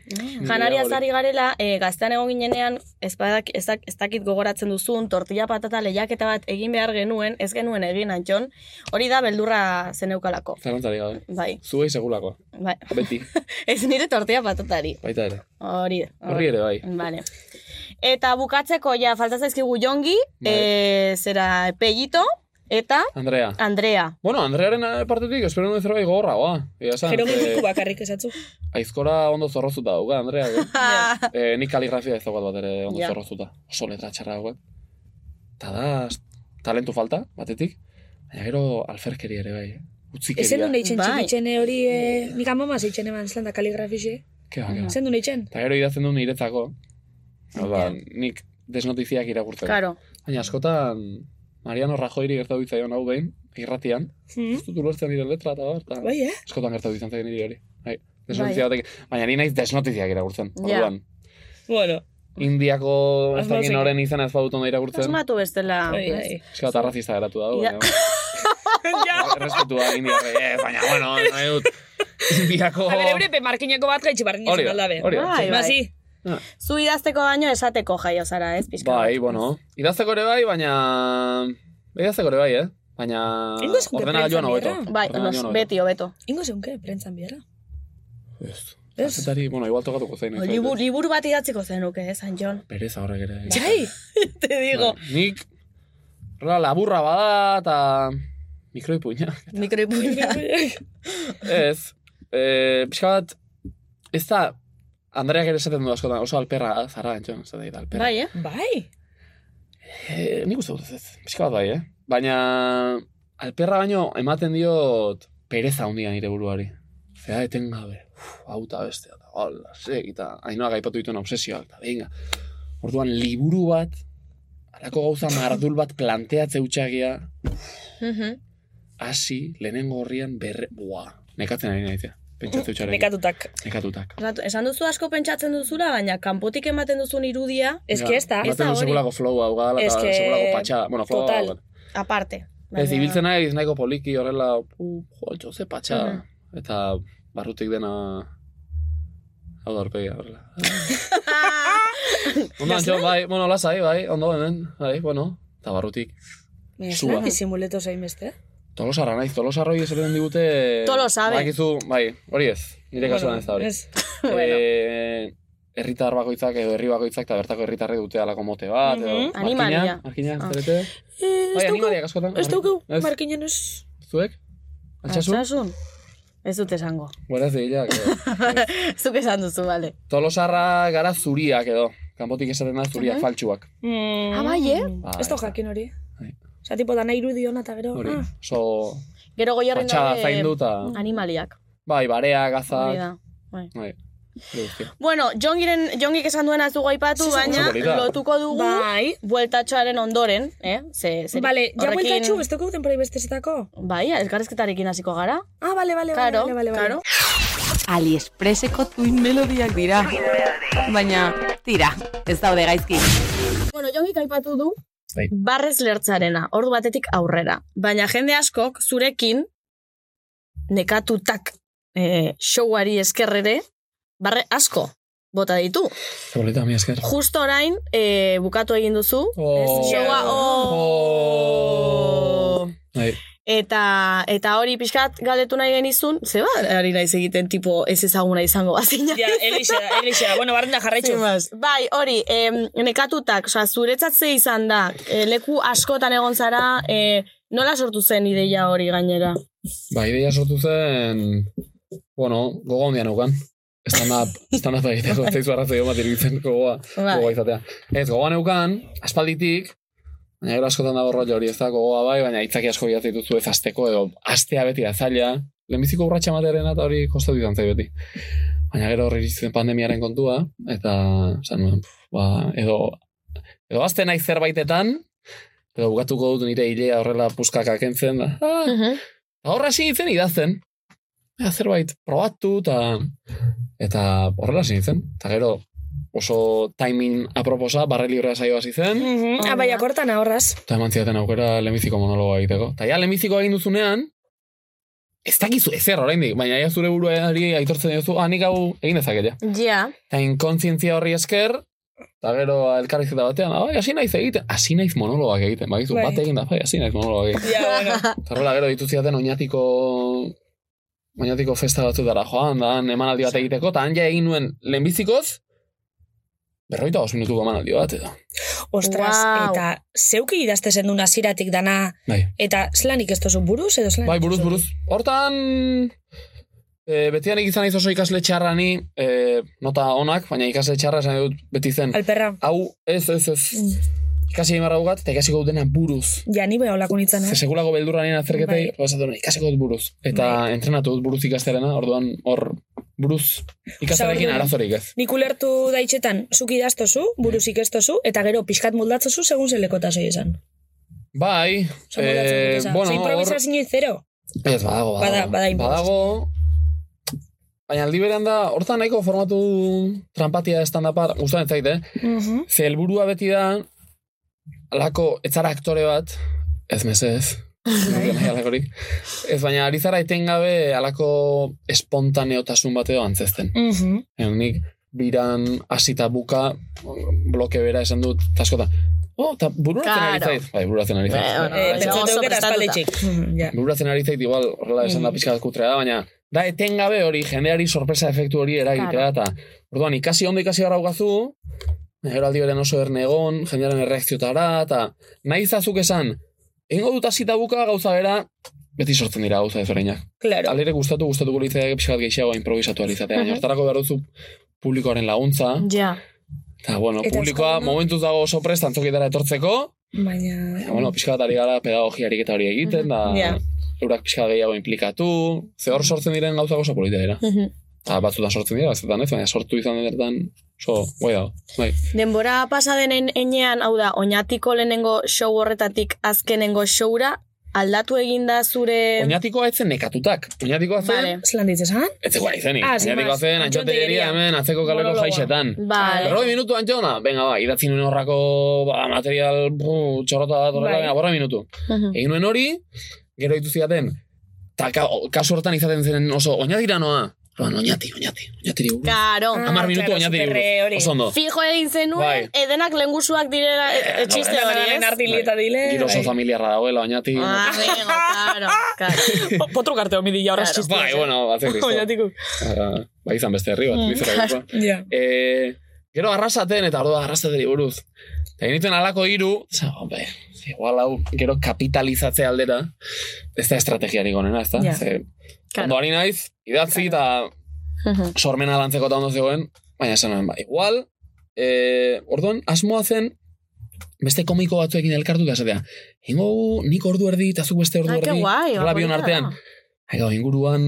Speaker 2: Janaria
Speaker 1: Hori.
Speaker 2: zari garela, eh, gaztean egon ginenean, ez, badak, ez, dak- ez dakit gogoratzen duzun, tortilla patata lehiaketa bat egin behar genuen, ez genuen egin antxon, hori da beldurra zeneukalako.
Speaker 1: Zalantzari gabe.
Speaker 2: Bai,
Speaker 1: Zuei segulakoa.
Speaker 2: bai.
Speaker 1: Beti,
Speaker 2: ez nire tortilla patatari.
Speaker 1: baita ere.
Speaker 2: Hori da.
Speaker 1: Bai. Horri ere bai.
Speaker 2: Vale. Eta bukatzeko, ja, falta zaizkigu jongi, eh, zera pellito, eta
Speaker 1: Bai. Andrea.
Speaker 2: Andrea.
Speaker 1: Bueno, Andrearen eh, partetik, espero nuen zerbait gogorra, goa. Ia esan,
Speaker 7: Gero
Speaker 1: eh,
Speaker 7: gutuko bakarrik esatzu.
Speaker 1: aizkora ondo zorrozuta dauka, Andrea. eh, nik kaligrafia ez daukat bat ere ondo
Speaker 7: Ja.
Speaker 1: zorrozuta. Oso letra txarra daukat. Eta da, s- talentu falta, batetik. Baina gero alferkeri ere bai. eh. Utzikeria.
Speaker 7: Ezen du eitzen
Speaker 1: Bai.
Speaker 7: txikitzen eh, hori, eh, nik amama zeitzen eman eslanda kaligrafixe.
Speaker 1: Ke ba, ke ba.
Speaker 7: Ezen du eitzen?
Speaker 1: Eta gero idazten du niretzako. Hau da, nik desnotiziak irakurtzen.
Speaker 7: Claro.
Speaker 1: Baina askotan, Mariano Rajoyri gertatu ditzaion hau behin, irratian. Ez dut ulertzen nire letra eta bar, eta
Speaker 7: Hmm. Bai, eh?
Speaker 1: askotan gertatu izan zaio niri hori. Bai,
Speaker 7: Bai.
Speaker 1: desnotizia batek. Baina ni naiz desnotiziak irakurtzen.
Speaker 2: Ja.
Speaker 1: Orduan,
Speaker 7: Bueno.
Speaker 1: Indiako ez
Speaker 2: Asmatzen.
Speaker 1: dakin oren izan ez badut ondo irakurtzen.
Speaker 2: Asmatu bestela.
Speaker 1: Bai,
Speaker 2: ez?
Speaker 1: Eska eta arrazista geratu da,
Speaker 2: Ja.
Speaker 1: baina, errespetua indiarrei, eh, baina, bueno, nahi dut, indiako...
Speaker 7: A ber, eurepe markineko bat gaitxe barri
Speaker 1: Hori
Speaker 7: nizun
Speaker 1: da,
Speaker 7: aldabe.
Speaker 1: hori da.
Speaker 2: Bai, bai.
Speaker 7: Bazi.
Speaker 1: Ah.
Speaker 2: Zu idazteko baino esateko jaio zara, ez? Pizka.
Speaker 1: Bai, bueno. Idazteko ere bai, baina... Idazteko ere bai, eh? Baina...
Speaker 7: Ingo zeunke
Speaker 1: Ordenagailuan
Speaker 7: prentzan
Speaker 1: hobeto.
Speaker 7: bierra.
Speaker 2: Bai, los, beti hobeto.
Speaker 7: Ingo zeunke, prentzan biara.
Speaker 1: Bai. Ez. Kazetari, bueno, igual tokatuko zein. eh, ez
Speaker 2: Liburu,
Speaker 1: dakit.
Speaker 2: liburu bat idatziko zenuke, eh, San Jon.
Speaker 1: Pereza horrek ere.
Speaker 7: Bai.
Speaker 2: Jai! Te digo,
Speaker 1: Bai, Nik... Rola laburra bada, eta... Mikroipuina.
Speaker 2: mikroipuina.
Speaker 1: Ez. E, pixka bat... Ez da... Andreak ere esaten du askotan, oso alperra zara, entxon, ez da dira, alperra.
Speaker 2: Bai, eh?
Speaker 7: Bai.
Speaker 1: E, nik uste dut ez, ez. pixka bat bai, eh? Baina, alperra baino ematen diot pereza handia nire buruari. Zea etengabe, uf, hau eta bestea, eta hola, sek, eta hainoak aipatu dituen obsesioak, eta venga. Orduan, liburu bat, alako gauza mardul bat planteatze utxagia,
Speaker 2: Mhm.
Speaker 1: hasi, lehenengo horrian berre, bua, nekatzen ari naizia. Pentsatze utxarekin.
Speaker 7: Nekatutak.
Speaker 1: Nekatutak.
Speaker 2: Osatu, Esan duzu asko pentsatzen duzula, baina kanpotik ematen duzun irudia...
Speaker 1: Ja, Ematen du segulako flow hau gala,
Speaker 2: Ez
Speaker 1: eta
Speaker 2: que-
Speaker 1: segulako patxada. Bueno, flow
Speaker 2: Total.
Speaker 1: hau gala.
Speaker 2: Aparte.
Speaker 1: Ez, ibiltzen naiz nahiko poliki horrela, uh, jo, ze patxa.
Speaker 2: Mhm.
Speaker 1: Eta barrutik dena... Hau da horpegia, horrela. Ondo, Antxo, bai, bueno, lasai, bai, ondo hemen, bai, bueno. Eta barrutik,
Speaker 7: Mira,
Speaker 1: Sua.
Speaker 7: disimuleto zain beste.
Speaker 1: tolosarra naiz, tolosarroi esaten digute...
Speaker 7: Tolosa, be.
Speaker 1: Bakizu, bai, hori ez, nire kasuan ez da hori.
Speaker 7: Ez.
Speaker 1: Eh, herritar bakoitzak edo herri bakoitzak eta bertako herritarri dute alako mote bat, edo...
Speaker 7: Mhm.
Speaker 1: Markina,
Speaker 7: Animalia.
Speaker 1: Markina,
Speaker 7: Ah.
Speaker 1: zarete? Bai, animaliak askotan.
Speaker 7: Ez daukau,
Speaker 1: Ez.
Speaker 7: markinen ez.
Speaker 1: Zuek? Altsasun?
Speaker 2: Altsasun? Ez dut esango.
Speaker 1: Buenas de hilak, edo.
Speaker 2: Zuk esan duzu, bale.
Speaker 1: Tolosarra gara zuriak edo. Kanpotik esaten da zuriak,
Speaker 7: Aha.
Speaker 1: faltsuak.
Speaker 7: Ah,
Speaker 2: bai, eh?
Speaker 1: Bai,
Speaker 7: Ez da jakin hori. Osa, tipo, dana irudi hona eta gero.
Speaker 1: Hori,
Speaker 7: Ah,
Speaker 1: so...
Speaker 2: Gero eh, goiarren
Speaker 1: Patxada
Speaker 2: daude
Speaker 1: zaindu eta-
Speaker 2: Animaliak.
Speaker 1: Bai, barea,
Speaker 2: Hori
Speaker 1: gazak...
Speaker 2: da. Bai.
Speaker 1: Bai. hori guztia.
Speaker 2: Bueno, jongiren, jongik esan duena ez dugu aipatu,
Speaker 7: Oso
Speaker 2: baina
Speaker 1: polita.
Speaker 2: lotuko dugu
Speaker 7: Bai.
Speaker 2: bueltatxoaren ondoren, eh? Ze, ze,
Speaker 7: Bale, ja
Speaker 2: horrekin-
Speaker 7: bueltatxu, ez daukau denpora ibestezetako.
Speaker 2: Bai, elkarrezketarekin hasiko gara.
Speaker 7: Ah, bale, bale,
Speaker 2: Karo,
Speaker 7: bale, bale, bale.
Speaker 2: karo.
Speaker 8: Aliexpreseko tuin melodiak dira. Baina, tira, ez daude gaizki.
Speaker 2: Bueno, jongik aipatu du
Speaker 1: Bai.
Speaker 2: barrez lertzarena, ordu batetik aurrera. Baina jende askok zurekin nekatutak eh, showari eskerrere barre asko bota ditu.
Speaker 1: Ze bolita, mi esker.
Speaker 2: Justo orain eh, bukatu egin duzu.
Speaker 1: Oh.
Speaker 2: Ez, showa, oh.
Speaker 1: Bai.
Speaker 2: Eta, eta hori pixkat galdetu nahi genizun, ze ba, ari naiz egiten tipo ez ezaguna izango bazina.
Speaker 12: Ja, elixa, elixa. Bueno, barrenda jarraitxu.
Speaker 2: Sin más. Bai, hori, em, nekatutak, osea, zuretzat ze izan da, eh, leku askotan egon zara, eh, nola sortu zen ideia hori gainera?
Speaker 1: Ba, ideia sortu zen, bueno, gogo handia naukan. Stand-up, stand-up egiteko, ez zaizu arrazoi bat iruditzen gogoa,
Speaker 2: Bai.
Speaker 1: gogoa izatea. Ez, gogoa neukan, aspalditik, baina gero askotan dago rollo hori, ez da, gogoa bai, baina hitzaki asko bilatzen dituzu ez azteko, edo astea beti da zaila, lehenbiziko urratxa matearen eta hori kostatu izan zai beti. Baina gero horri zen pandemiaren kontua, eta, esan nuen, pf, ba, edo, edo azte naiz zerbaitetan, edo bukatuko dut nire hilea horrela puskaka kentzen, da, Ah, Eta horra hasi nintzen idazten. Ea, zerbait probatu eta eta horrela hasi nintzen. Eta gero oso timing aproposa, barre librea saio hasi zen.
Speaker 7: Mhm, abai akortan ahorraz.
Speaker 1: Eta eman zidaten aukera lemiziko monologoa egiteko. Eta ja lemiziko egin duzunean, ez dakizu ezer oraindik, baina ja zure buruari aitortzen diozu, ah, nik hau egin dezaket ja.
Speaker 2: Ja.
Speaker 1: Eta inkontzientzia horri esker, eta gero elkarrizketa batean, ah, bai, hasi naiz egiten, hasi naiz monologak egiten, bakizu,
Speaker 2: Bai.
Speaker 1: bat egin da, bai, hasi naiz monologak egiten.
Speaker 12: Ja, bueno.
Speaker 1: Eta horrela gero ditu zidaten oinatiko oinatiko festa batzutara joan, da, han emanaldi bat egiteko, eta han ja egin nuen lehenbizikoz, berroita os minutuko emanaldi bat, edo.
Speaker 7: Ostras, eta zeuki idazte zendun hasieratik dana.
Speaker 1: Bai.
Speaker 7: Eta zelanik ez tozu buruz edo zelanik?
Speaker 1: Bai, buruz, buruz. Hortan, e, betian egizan naiz oso ikasle txarra ni, e, nota onak, baina ikasle txarra esan dut beti zen.
Speaker 7: Alperra.
Speaker 1: Hau, ez, ez, ez. Ikasi egin barra bukat, eta ikasiko dut dena buruz.
Speaker 7: Mm. Ja, ni beha olako nintzen,
Speaker 1: Ze
Speaker 7: eh?
Speaker 1: sekulako beldurra nien azterketei, bai. ikasiko dut buruz. Eta entrenatu dut buruz ikasterena, orduan hor buruz ikasterekin
Speaker 7: orduan-
Speaker 1: arazorik ez.
Speaker 7: Nik ulertu daitxetan, zuk idaztozu, buruz ikestozu, eta gero pixkat moldatzozu segun zelekotazoi esan.
Speaker 1: Bai, eh,
Speaker 7: Osea,
Speaker 1: bueno, hor...
Speaker 7: improvisazio inoiz zero.
Speaker 1: Ez, badago, badago.
Speaker 7: Bada- bada inbox.
Speaker 1: badago, Baina aldi berean da, hortan nahiko formatu trampatia stand-upa, guztan ez zait, eh?
Speaker 2: Mhm.
Speaker 1: Ze helburua beti da, alako, etzara aktore bat, ez mesez, alakorik. Ez baina ari zara etengabe alako espontaneotasun bat edo antzesten.
Speaker 7: Mhm.
Speaker 1: Baina Nik biran hasita buka bloke bera esan dut, eta askotan, oh, eta bururatzen ari
Speaker 7: Claro.
Speaker 1: zait. Bai, bururatzen ari zait.
Speaker 7: Eh, Pentsatu eukera aspalditxik.
Speaker 13: Mm,
Speaker 7: Mhm, Ja.
Speaker 1: Bururatzen ari zait, igual, horrela esan da
Speaker 7: Mm.
Speaker 1: pixka bat kutrea da, baina da etengabe hori, jendeari sorpresa efektu hori eragitea, eta orduan ikasi ondo ikasi gara ugazu, gero aldi beren oso ernegon, jendearen erreakziotara, eta nahi zazuk esan, egingo dut hasita buka gauza bera, beti sortzen dira gauza ezberdinak.
Speaker 7: Claro.
Speaker 1: Alire gustatu gustatuko litzaidake pixka bat gehiago improvisatu alizatea, baina
Speaker 7: Mhm.
Speaker 1: hortarako behar duzu publikoaren laguntza,
Speaker 2: Ja.
Speaker 1: eta bueno,
Speaker 7: Eta
Speaker 1: publikoa
Speaker 7: euskalduna-
Speaker 1: momentuz dago oso prest antzokitara etortzeko,
Speaker 7: Baina...
Speaker 1: Baina, bueno, pixka bat ari gara pedagogiarik eta hori egiten, da
Speaker 7: Ja.
Speaker 1: eurak pixka gehiago inplikatu, ze hor sortzen diren gauza oso polita dira.
Speaker 2: Mm.
Speaker 1: Eta batzutan sortzen dira, batzutan ez, baina sortu izan denertan oso guai dago. Bai.
Speaker 2: Denbora pasa denen enean, hau da, oinatiko lehenengo show horretatik azkenengo showra, aldatu eginda zure...
Speaker 1: Oñatikoa ez zen nekatutak. Oñatikoa zen,
Speaker 2: Vale.
Speaker 7: Zelan ditzesan?
Speaker 1: ez zegoen izenik.
Speaker 7: Ah, sin
Speaker 1: Oñatikoa
Speaker 7: más.
Speaker 1: zen,
Speaker 7: Antxon
Speaker 1: antxote
Speaker 7: Tellería.
Speaker 1: hemen, atzeko kaleko
Speaker 7: Monologoa.
Speaker 1: jaixetan.
Speaker 2: Vale.
Speaker 1: Berroi minutu antxona? Venga, ba, idatzi nuen horrako ba, material bu, txorrota bat horrela,
Speaker 7: Bai.
Speaker 1: venga, borra minutu. Egin nuen hori, gero ditu zidaten, eta ka, kasu hortan izaten zen oso, oñatira noa. Orduan, Oñati, oñati, oñatiri buruz.
Speaker 2: Karo.
Speaker 1: Ah, Hamar minutu claro, oñatiri superre buruz. hori. Oso ondo. Bai. Eh,
Speaker 2: Fijo egin zenuen, edenak lehengusuak direla e- etxiste hori, ez?
Speaker 1: Giro oso
Speaker 7: Bai.
Speaker 1: familiarra dagoela, oñati.
Speaker 2: Ah, vengo, claro, claro.
Speaker 12: Potro karte homidi, ja, horrez txistua.
Speaker 1: Bai, bueno, batzen kristo.
Speaker 12: Oñatiko.
Speaker 1: Ah, Ba, izan beste herri bat,
Speaker 12: Mm.
Speaker 1: bizera gipua.
Speaker 7: Ja.
Speaker 1: Eh, gero arrasaten, eta orduan arrasateri buruz. Eta genituen alako hiru, za, hombre, igual hau, gero kapitalizatze aldera, ez da estrategiarik onena, ez da?
Speaker 7: Ja.
Speaker 1: Ze,
Speaker 7: Claro.
Speaker 1: Ondo ari naiz, idatzi eta sormena lantzeko eta ondo zegoen, baina esan nuen, ba, igual, eh, orduan, asmoa zen, beste komiko batzuekin elkartu eta esatea, ingo nik ordu erdi eta zuk beste ordu
Speaker 2: Ah,
Speaker 1: erdi,
Speaker 2: ke guai,
Speaker 1: horrela bion
Speaker 2: hori da.
Speaker 1: artean, Hago, inguruan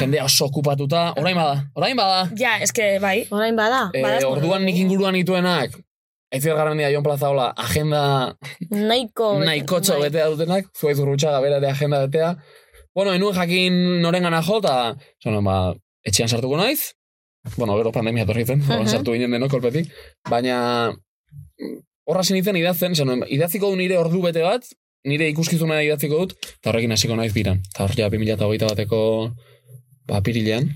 Speaker 1: jendea oso okupatuta, orain bada, orain bada.
Speaker 7: Ja, eske bai.
Speaker 2: Orain bada.
Speaker 1: Eh, orduan nik inguruan nituenak, Aitziar Garmendia, Jon Plazaola, agenda
Speaker 2: Nahiko.
Speaker 1: nahikotxo betea dutenak, zuaiz urrutxaga bera ere agenda betea. Bueno, enuen jakin noren gana jo, eta zono, ba, etxean sartuko naiz. Bueno, gero pandemia torri zen,
Speaker 10: Aha.
Speaker 1: uh sartu ginen denok kolpetik. Baina, mm, horra sinitzen idazten, zono, idatziko du nire ordu bete bat, nire ikuskizuna idatziko dut, eta horrekin hasiko naiz biran. Eta hor ja 2008 bateko ba, pirilean,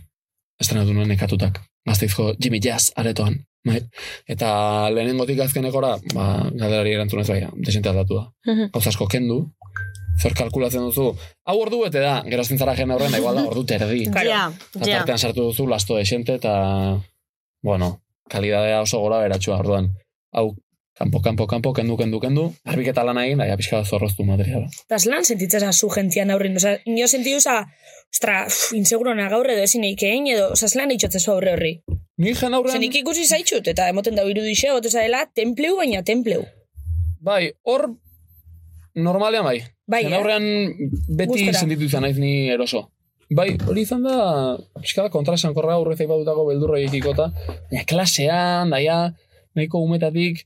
Speaker 1: estrenatu nuen nekatutak. Gazteizko Jimmy Jazz aretoan. Bai. Eta lehenengotik azkenekora, ba, galderari erantzunez bai, desente aldatu da.
Speaker 2: Mhm.
Speaker 1: Gauza asko kendu, zer kalkulatzen duzu. Hau ordu bete da, gero ezin zara jen horren, da igual da ordu terdi.
Speaker 2: Claro. Ja,
Speaker 1: Eta
Speaker 2: ja.
Speaker 1: tartean sartu duzu lasto desente eta, bueno, kalidadea oso gora beratxua orduan. Hau, kanpo, kanpo, kanpo, kendu, kendu, kendu, garbiketa lan egin, da, ja, pixka bat zorroztu materiala.
Speaker 7: Das lan sentitzen za zu jentzian aurrin. Osa, nio sentidu za, ostra, uf, inseguro na gaur edo ezin eikein edo, osa, zelan itxotzen zu aurre horri.
Speaker 1: Ni jen aurrean...
Speaker 7: Osa, nik ikusi zaitxut, eta emoten da irudixe, gotu dela, templeu baina templeu.
Speaker 1: Bai, hor, normalean bai.
Speaker 7: Bai,
Speaker 1: Jen
Speaker 7: eh?
Speaker 1: aurrean beti
Speaker 7: Gustura.
Speaker 1: sentitu izan naiz ni eroso. Bai, hori izan da, pixka da kontrasankorra aurrez aipatutako beldurra ikikota, baina klasean, daia, nahiko umetatik,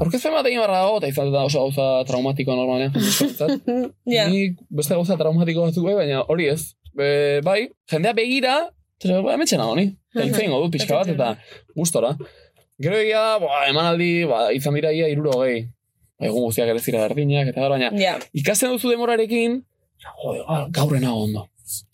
Speaker 1: aurkezpen bat egin barra dago, eta izan da oso gauza traumatiko normalean. jendearentzat.
Speaker 7: Ja.
Speaker 1: Nik beste gauza traumatiko batzuk bai, baina hori ez. Be, bai, jendea begira, eta bai, metxen nago ni. Eta hitz egingo dut pixka bat, eta gustora. Gero egia da, ba, emanaldi, ba, izan dira ia iruro gehi. Ba, egun guztiak ere ez dira berdinak, eta gara, baina
Speaker 7: Ja.
Speaker 1: ikasten duzu demorarekin, jo, gaur- gaur enago ondo.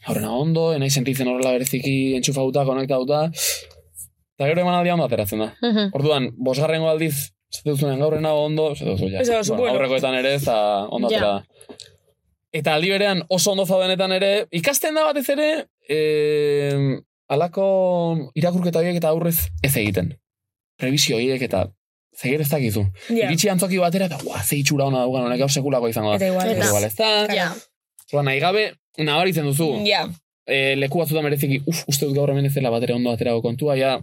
Speaker 1: Gaur enago ondo, enai sentitzen horrela bereziki entxufauta, konektauta, eta gero emanaldi ondo ateratzen da.
Speaker 7: Hmm.
Speaker 2: Mhm.
Speaker 1: Orduan, bosgarrengo aldiz, zate duzunean gaur enago ondo, zate duzu, ja.
Speaker 7: Ez da, oso bueno.
Speaker 1: Aurrekoetan ere, eta ondo
Speaker 7: Ja.
Speaker 1: atera. da. Eta aldi berean oso ondo zaudenetan ere, ikasten da batez ere, eh, alako irakurketa horiek eta aurrez ez egiten. Prebizio horiek eta zeger ez dakizu.
Speaker 7: Ja.
Speaker 1: Iritsi antzoki batera eta guau, ze itxura hona daukan, honek hau sekulako izango da.
Speaker 7: Eta igual
Speaker 1: Ah,
Speaker 7: ez.
Speaker 1: Eta igual ez da.
Speaker 7: Ja.
Speaker 1: Orduan, Ba, nahi gabe, nabaritzen duzu.
Speaker 7: Ja.
Speaker 1: Eh, leku batzutan bereziki, uf, uste dut gaur hemen ez dela batera ondo aterago kontua, ja,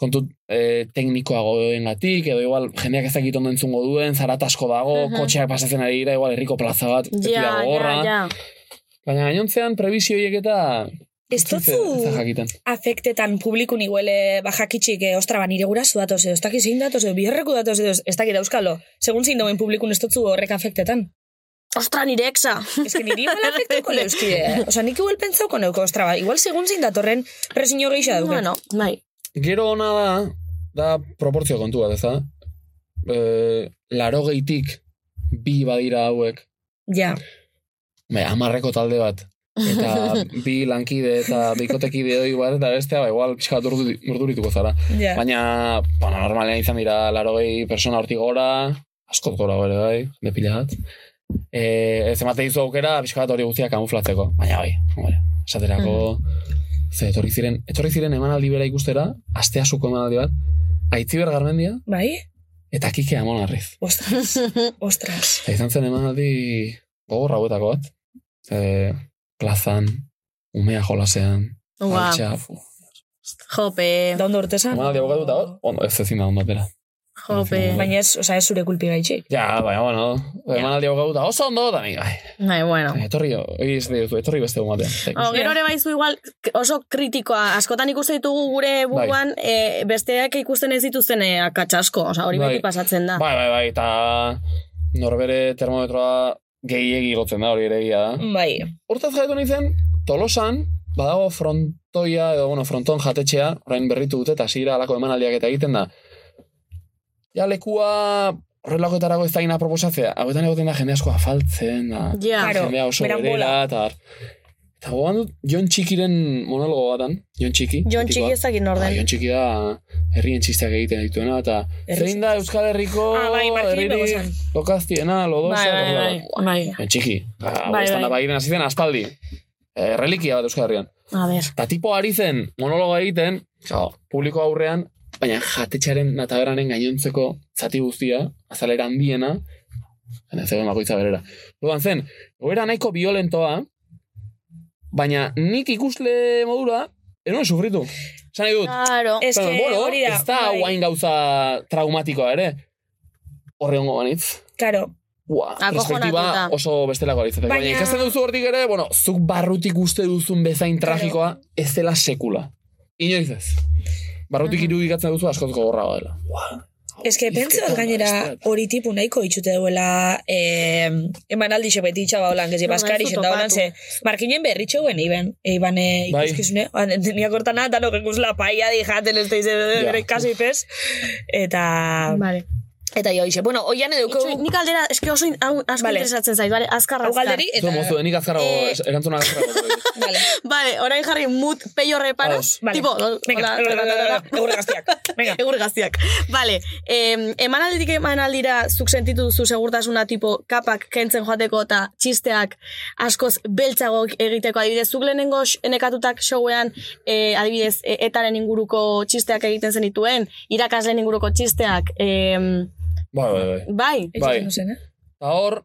Speaker 1: kontu eh, teknikoagoen gatik, edo igual jendeak ez dakit ondo entzungo duen, zarat asko dago,
Speaker 2: Mhm.
Speaker 1: kotxeak pasatzen ari dira, igual herriko plaza bat, beti
Speaker 2: Ja,
Speaker 1: dago
Speaker 2: ja,
Speaker 1: horra.
Speaker 2: ja.
Speaker 1: Baina gainontzean prebizio horiek eta ez
Speaker 7: Ez duzu-
Speaker 1: da jakiten.
Speaker 7: afektetan publikun iguele bajak eh, ostra, ba, nire gurasu datoz edo, ez dakit zein datoz edo, biherreku datoz edo, ez dakit euskalo. Segun zein dauen publikun ez dutzu horrek afektetan.
Speaker 2: Ostra, nire exa.
Speaker 7: Ez que niri igual afekteko leuzkide. eh? Osa, nik igual pentsauko neuko, ostra, ba, igual segun zein datorren presio geisha duke.
Speaker 2: Bueno, bai.
Speaker 1: Gero ona da, da proportzio kontua, ez da? Eh, laro geitik bi badira hauek,
Speaker 7: Ja.
Speaker 1: Be, Bai, amarreko talde bat. Eta bi lankide eta bikotekide hori bat, eta bestea, ba, igual pixka bat urdu, urdurituko zara.
Speaker 7: Ja.
Speaker 1: Baina, bueno, normalean izan dira, laro gehi persona hortik gora, asko gora ere bai, de pila bat. E, ez emate dizu aukera, pixka bat hori guztia kamuflatzeko. Baina bai, hombre, esaterako, ze, etorri ziren, etorri ziren emanaldi bera ikustera, astea suko emanaldi bat, Aitziber Garmendia
Speaker 7: Bai?
Speaker 1: eta Kike Amonarriz.
Speaker 7: Ostras. Ostras.
Speaker 1: Eta izan zen emanaldi gogorra hauetako bat. E, plazan, umea jolasean,
Speaker 2: Ua.
Speaker 1: altxa, fu.
Speaker 2: Jope.
Speaker 7: Da ondo urtesan?
Speaker 1: Emanaldi abokatu eta hor, ondo, ez ezin da ondo atera.
Speaker 2: Jope.
Speaker 7: Baina ez, osa, ez zure kulpi gaitxik.
Speaker 1: Ja, ba. baina, bueno, emanaldi abokatu eta oso ondo, da ni, bai.
Speaker 2: Nahi, bueno.
Speaker 1: Etorri, hori ez diotu, etorri beste egun batean. Eta
Speaker 2: O,
Speaker 7: Bai.
Speaker 1: ikusi.
Speaker 2: gero ere baizu igual oso kritikoa. Askotan ikusten ditugu
Speaker 1: Bai.
Speaker 2: gure buruan e, besteak ikusten ez dituzten e, akatsasko. Osa, hori
Speaker 1: Bai.
Speaker 2: beti pasatzen da.
Speaker 1: Bai, bai, bai, eta norbere termometroa gehiegi gotzen da, hori ere egia
Speaker 2: Mm.
Speaker 1: da.
Speaker 7: Bai.
Speaker 1: Hortaz jaitu nintzen, Tolosan, badago frontoia, edo, bueno, fronton jatetxea, orain berritu dute, eta zira alako emanaldiak eta egiten da. Ja, lekua horrelakoetarako ez daina proposatzea. Hauetan egoten da jende asko afaltzen, da,
Speaker 2: Ja. Claro,
Speaker 1: jendea oso
Speaker 2: berangola.
Speaker 1: berela, eta har. Eta gogoan dut, Jon Txikiren monologo batan, Jon Txiki.
Speaker 2: Jon
Speaker 1: betikoa.
Speaker 2: Txiki ez dakit nor den.
Speaker 1: Jon Txiki da herrien txisteak egiten dituena, eta
Speaker 2: Herri-
Speaker 1: zein da Euskal Herriko
Speaker 2: Ah, bai, Martini Begozan.
Speaker 1: herririk lokaztiena, lodosa,
Speaker 12: Bai, bai,
Speaker 1: eta
Speaker 12: bai.
Speaker 1: horrelako.
Speaker 12: bai.
Speaker 1: Jon Txiki,
Speaker 12: Bai,
Speaker 1: bai, bai.
Speaker 12: bai.
Speaker 1: bairen hasi zen aspaldi. Eh, relikia bat Euskal Herrian.
Speaker 2: A ber.
Speaker 1: Eta tipo ari zen monologo egiten, claro, publiko aurrean, baina jatetxaren eta taberaren gainontzeko zati guztia, azalera handiena, baina zegoen bakoitza berera. Duan zen, goera nahiko violentoa, baina nik ikusle modura, eruen sufritu. Esan nahi dut,
Speaker 2: Claro.
Speaker 7: Ez
Speaker 1: Claro,
Speaker 7: que
Speaker 1: bueno,
Speaker 7: hori da.
Speaker 1: ez da
Speaker 7: bai.
Speaker 1: guain gauza traumatikoa ere. Horre hongo banitz.
Speaker 7: Claro.
Speaker 1: Ua, perspektiba
Speaker 7: Acojonatuta.
Speaker 1: oso bestelako litzateke. Baina,
Speaker 7: Baina-
Speaker 1: ikasten duzu hortik ere, bueno, zuk barrutik uste duzun bezain tragikoa, ez dela sekula. Inoiz ez. Barrutik irudikatzen duzu askozko gorra dela.
Speaker 7: Ez que pentsa gainera hori tipu nahiko itxute duela eh, eman aldi beti itxa baulan, gezi,
Speaker 2: No,
Speaker 7: baskari
Speaker 2: Ba, ez dut
Speaker 7: xeta holan,
Speaker 2: topatu.
Speaker 7: ze markinen berritxo guen iben, iban eh,
Speaker 1: Bai.
Speaker 7: ikuskizune, tenia kortana, danok ikus la paia dijaten ez teiz,
Speaker 1: Ja.
Speaker 7: bere kasi pez, eh, eta...
Speaker 2: Vale.
Speaker 7: Eta jo, ixe, bueno, oian eduko...
Speaker 2: Nik aldera, eski oso in- hau asko
Speaker 7: Vale.
Speaker 2: interesatzen zait, bale, azkar,
Speaker 7: Hau
Speaker 2: azkar.
Speaker 7: galderi
Speaker 1: Zu mozu, nik azkarrago,
Speaker 2: Eh,
Speaker 1: erantzuna azkarrago.
Speaker 7: Vale.
Speaker 2: vale, orain jarri mut peio reparo.
Speaker 1: Ados.
Speaker 7: Vale.
Speaker 2: Tipo,
Speaker 7: Venga, egur gaztiak. Venga.
Speaker 2: Egur gaztiak. Vale, em, emanalditik emanaldira zuk sentitu duzu segurtasuna tipo kapak kentzen joateko eta txisteak askoz beltzago egiteko adibidez. Zuk lehenengo sh- nekatutak showean eh, adibidez e, etaren inguruko txisteak egiten zenituen, irakasleen inguruko txisteak. em,
Speaker 1: Bai, bai, bai.
Speaker 2: bai.
Speaker 1: Bai. Egiten zen, Eta hor,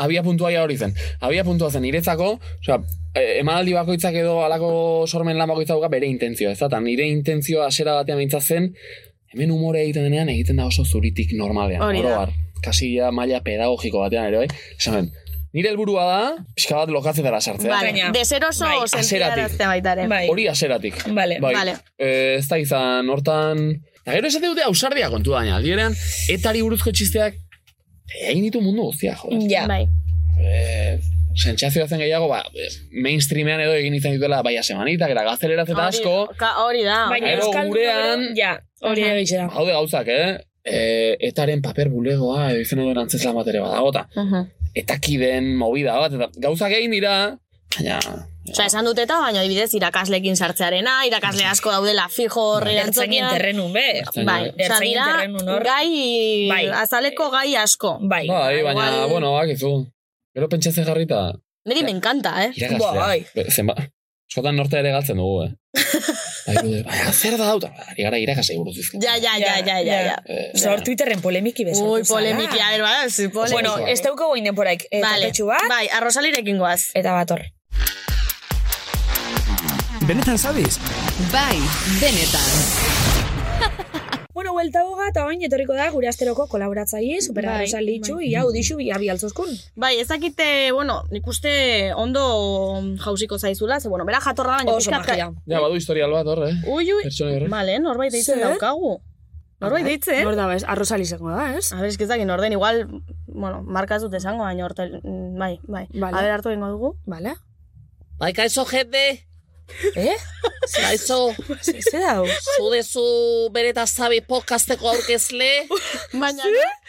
Speaker 1: abia puntua ja hori zen. Abia puntua zen niretzako, osea, eh, emanaldi bakoitzak edo alako sormen lan bakoitzak dauka bere intentzioa, ez da? Eta nire intentzioa hasiera batean mintza zen, hemen umore egiten denean egiten da oso zuritik normalean.
Speaker 10: Hori da.
Speaker 1: Oroar, kasi ja maila pedagogiko batean ere, bai? Esan, nuen, nire helburua da, pixka bat lokatzetara sartzea.
Speaker 2: Vale, deseroso bai. sentiaraztea baita ere.
Speaker 1: Hori aseratik.
Speaker 7: Bai. Vale.
Speaker 1: Bai.
Speaker 2: Bai. Vale.
Speaker 1: Eh, ez da izan, hortan... Eta gero esaten dute ausardia kontu daina, aldiberean, etari buruzko txisteak, egin ditu mundu guztia, joder.
Speaker 7: Ja.
Speaker 2: Bai.
Speaker 1: Eh, sentsazioa zen gehiago, ba, eh, mainstreamean edo egin izan dituela, bai baia semanitak, eta gazteleraz eta asko,
Speaker 2: Ka, hori da. Ah,
Speaker 1: Baina Gero Euskal gurean-
Speaker 7: Ja, hori da bitxera.
Speaker 1: hau de gauzak, eh? Eh, etaren paper bulegoa, edo izan duen antzeslan bat ere badago, eta eta kiden movida bat, eta gauzak egin dira, baina...
Speaker 2: Osa, esan dut eta, baina adibidez irakaslekin sartzearena,
Speaker 7: Bai.
Speaker 2: irakasle asko daudela fijo horre
Speaker 7: Ertzainen
Speaker 2: antzokian.
Speaker 7: terrenun, Bai, be.
Speaker 2: Bai, osa
Speaker 7: Ertzainen
Speaker 2: dira,
Speaker 7: terrenun hor.
Speaker 2: gai,
Speaker 7: Bai.
Speaker 2: azaleko gai asko.
Speaker 7: Bai.
Speaker 1: Bai, baina,
Speaker 2: Igual-
Speaker 1: bueno, bakizu. Gero pentsatzen jarrita,
Speaker 2: Neri me encanta, eh?
Speaker 1: irakastea.
Speaker 7: bai.
Speaker 1: Be- Zenba, eskotan norte ere galtzen dugu, eh? Bai, gure, baina, zer da dauta? Ari gara irakasei buruz dizkin.
Speaker 2: Ja, ja, ja, ja, ja, ja.
Speaker 7: Osa, hor Twitterren polemiki bezala.
Speaker 2: Ui, polemiki, a ber, bada, zu polemiki.
Speaker 7: Bueno, ez dauko goin denporaik. Eh,
Speaker 2: Vale.
Speaker 7: tartetxu bat.
Speaker 2: Bai, arrosalirekin goaz.
Speaker 7: Eta bat hor.
Speaker 14: Benetan zabiz?
Speaker 15: Bai, benetan.
Speaker 7: Bueno, huelta hoga eta oin etorriko da gure asteroko kolaboratzaile, supera
Speaker 2: Bai,
Speaker 7: bai, litxu,
Speaker 2: bai.
Speaker 7: ia udixu, ia bialtzoskun.
Speaker 2: Bai, ez dakite, bueno, nik uste ondo jausiko zaizula, ze, bueno, bera jatorra baina
Speaker 7: Oso
Speaker 2: pixkat-
Speaker 7: magia.
Speaker 1: Ja, badu historial bat, hor, eh?
Speaker 2: Ui, ui,
Speaker 1: Pertsona
Speaker 16: Bai.
Speaker 1: horrek.
Speaker 2: Bale, norbait deitzen
Speaker 7: Ze?
Speaker 2: daukagu. Norbait deitzen.
Speaker 7: Nor da, bez, arrozali izango da, ez?
Speaker 2: A ber, ez dakit norden, igual, bueno, markaz dut esango, baina hortel, mm, bai, bai.
Speaker 7: Vale.
Speaker 2: A ber, hartu egingo dugu.
Speaker 7: Bale.
Speaker 16: Bai, kaixo, jende.
Speaker 7: Eh?
Speaker 16: Kaixo.
Speaker 7: Zer dau?
Speaker 16: Zude zu bereta zabi podcasteko aurkezle.
Speaker 2: Baina,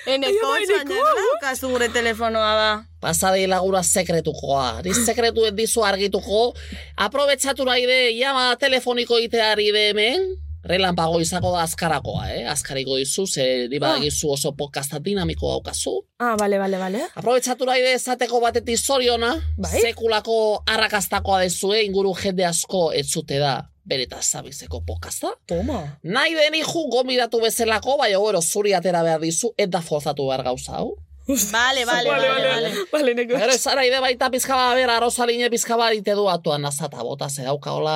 Speaker 2: eneko, baina, daukazu gure telefonoa ba. da.
Speaker 16: Pasadi lagura sekretukoa. Ni sekretuen dizu argituko. Aprobetxatu nahi de, llama telefoniko iteari de hemen. Relanpago izako da azkarakoa, eh? Azkariko dizu, ze ni Ah. badakizu oso podcasta dinamiko daukazu.
Speaker 7: Ah, bale, bale, bale.
Speaker 16: Aprobetxatu nahi de esateko batetik zoriona, sekulako arrakastakoa dezue inguru jende asko ez zute da bereta zabizeko pokasta.
Speaker 7: Toma.
Speaker 16: Nahi deni ju gomidatu bezalako, bai gero zuri atera behar dizu, ez da forzatu behar gauza, hau?
Speaker 2: Vale, vale, vale, vale.
Speaker 7: Vale,
Speaker 16: Eta Gero esan nahi de baita pizka bat, bera, arrozaline pizka bat ite du atuan azata bota, ze dauka hola,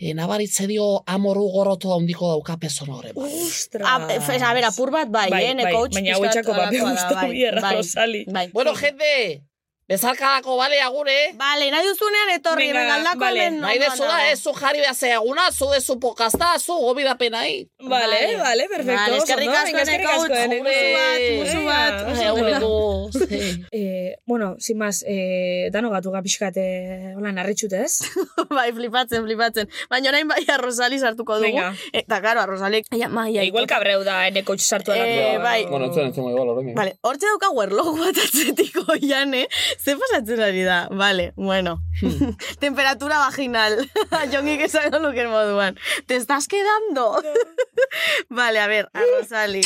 Speaker 16: e, nabaritze dio amoru gorroto handiko dauka pezon horre. Bai.
Speaker 2: A, f- a ber, apur bat, bai,
Speaker 16: Bai,
Speaker 2: eh,
Speaker 16: bai,
Speaker 2: neko hutsu
Speaker 16: baina
Speaker 2: pixkat
Speaker 16: hauetxako bat me
Speaker 2: holakoa da,
Speaker 16: gustatu
Speaker 2: bai,
Speaker 16: bierra,
Speaker 2: bai,
Speaker 16: Rosali.
Speaker 2: Bai.
Speaker 16: Bueno, jende, bezarkadako, bale, agure?
Speaker 2: Vale, nahi duzunean etorri,
Speaker 16: Venga,
Speaker 2: venga, aldako
Speaker 16: vale.
Speaker 2: hemen
Speaker 16: Nahi
Speaker 2: ondoan
Speaker 16: dezu da,
Speaker 2: dago.
Speaker 16: ez zu jarri behaz eguna, zu dezu pokazta, zu gobidapen nahi.
Speaker 7: Vale, vale, perfecto.
Speaker 2: Vale, eskerrik
Speaker 7: Oso, no?
Speaker 2: asko,
Speaker 7: Venga, eskerrik
Speaker 2: Eneko,
Speaker 7: asko, Eneko. eh,
Speaker 2: musu bat, musu
Speaker 7: Venga, oso
Speaker 2: bat.
Speaker 16: ondo.
Speaker 7: Eh, bueno, sin más, eh, dano gatu gapiskat, eh, hola, narritxut ez?
Speaker 2: bai, flipatzen, flipatzen. Baina orain bai arrozali sartuko dugu.
Speaker 7: Venga. E,
Speaker 2: Eta, karo, arrozalek... Ja, mai, ja,
Speaker 7: Igual kabreu da, eneko sartu
Speaker 2: Eh, bai.
Speaker 1: Bueno, entzun, entzun, igual, horrein.
Speaker 2: Vale, hortxe daukagu erloju bat atzetik oian, eh? Ze pasatzen ari da? Vale, bueno.
Speaker 1: Hmm.
Speaker 2: Temperatura vaginal. Jongik esango luken moduan. Te estás quedando. vale, a ver, a Rosali.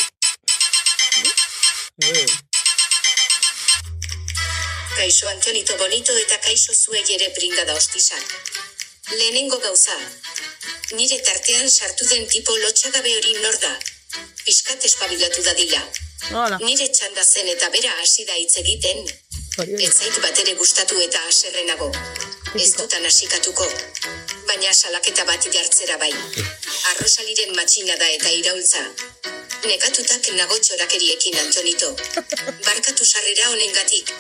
Speaker 17: Kaixo Antonito Bonito eta kaixo zuei ere pringa ostizan. Lehenengo gauza. Nire tartean sartu den tipo lotxagabe hori nor da. Piskat espabilatu dadila.
Speaker 2: Hola.
Speaker 17: Nire txanda zen eta bera hasi da hitz egiten. Ez zait bat ere gustatu eta haserrenago. Ez dutan hasikatuko. Baina salaketa bat jartzera bai. Arrosaliren matxina da eta iraultza. Nekatutak nago txorakeriekin Antonito. Barkatu sarrera honengatik.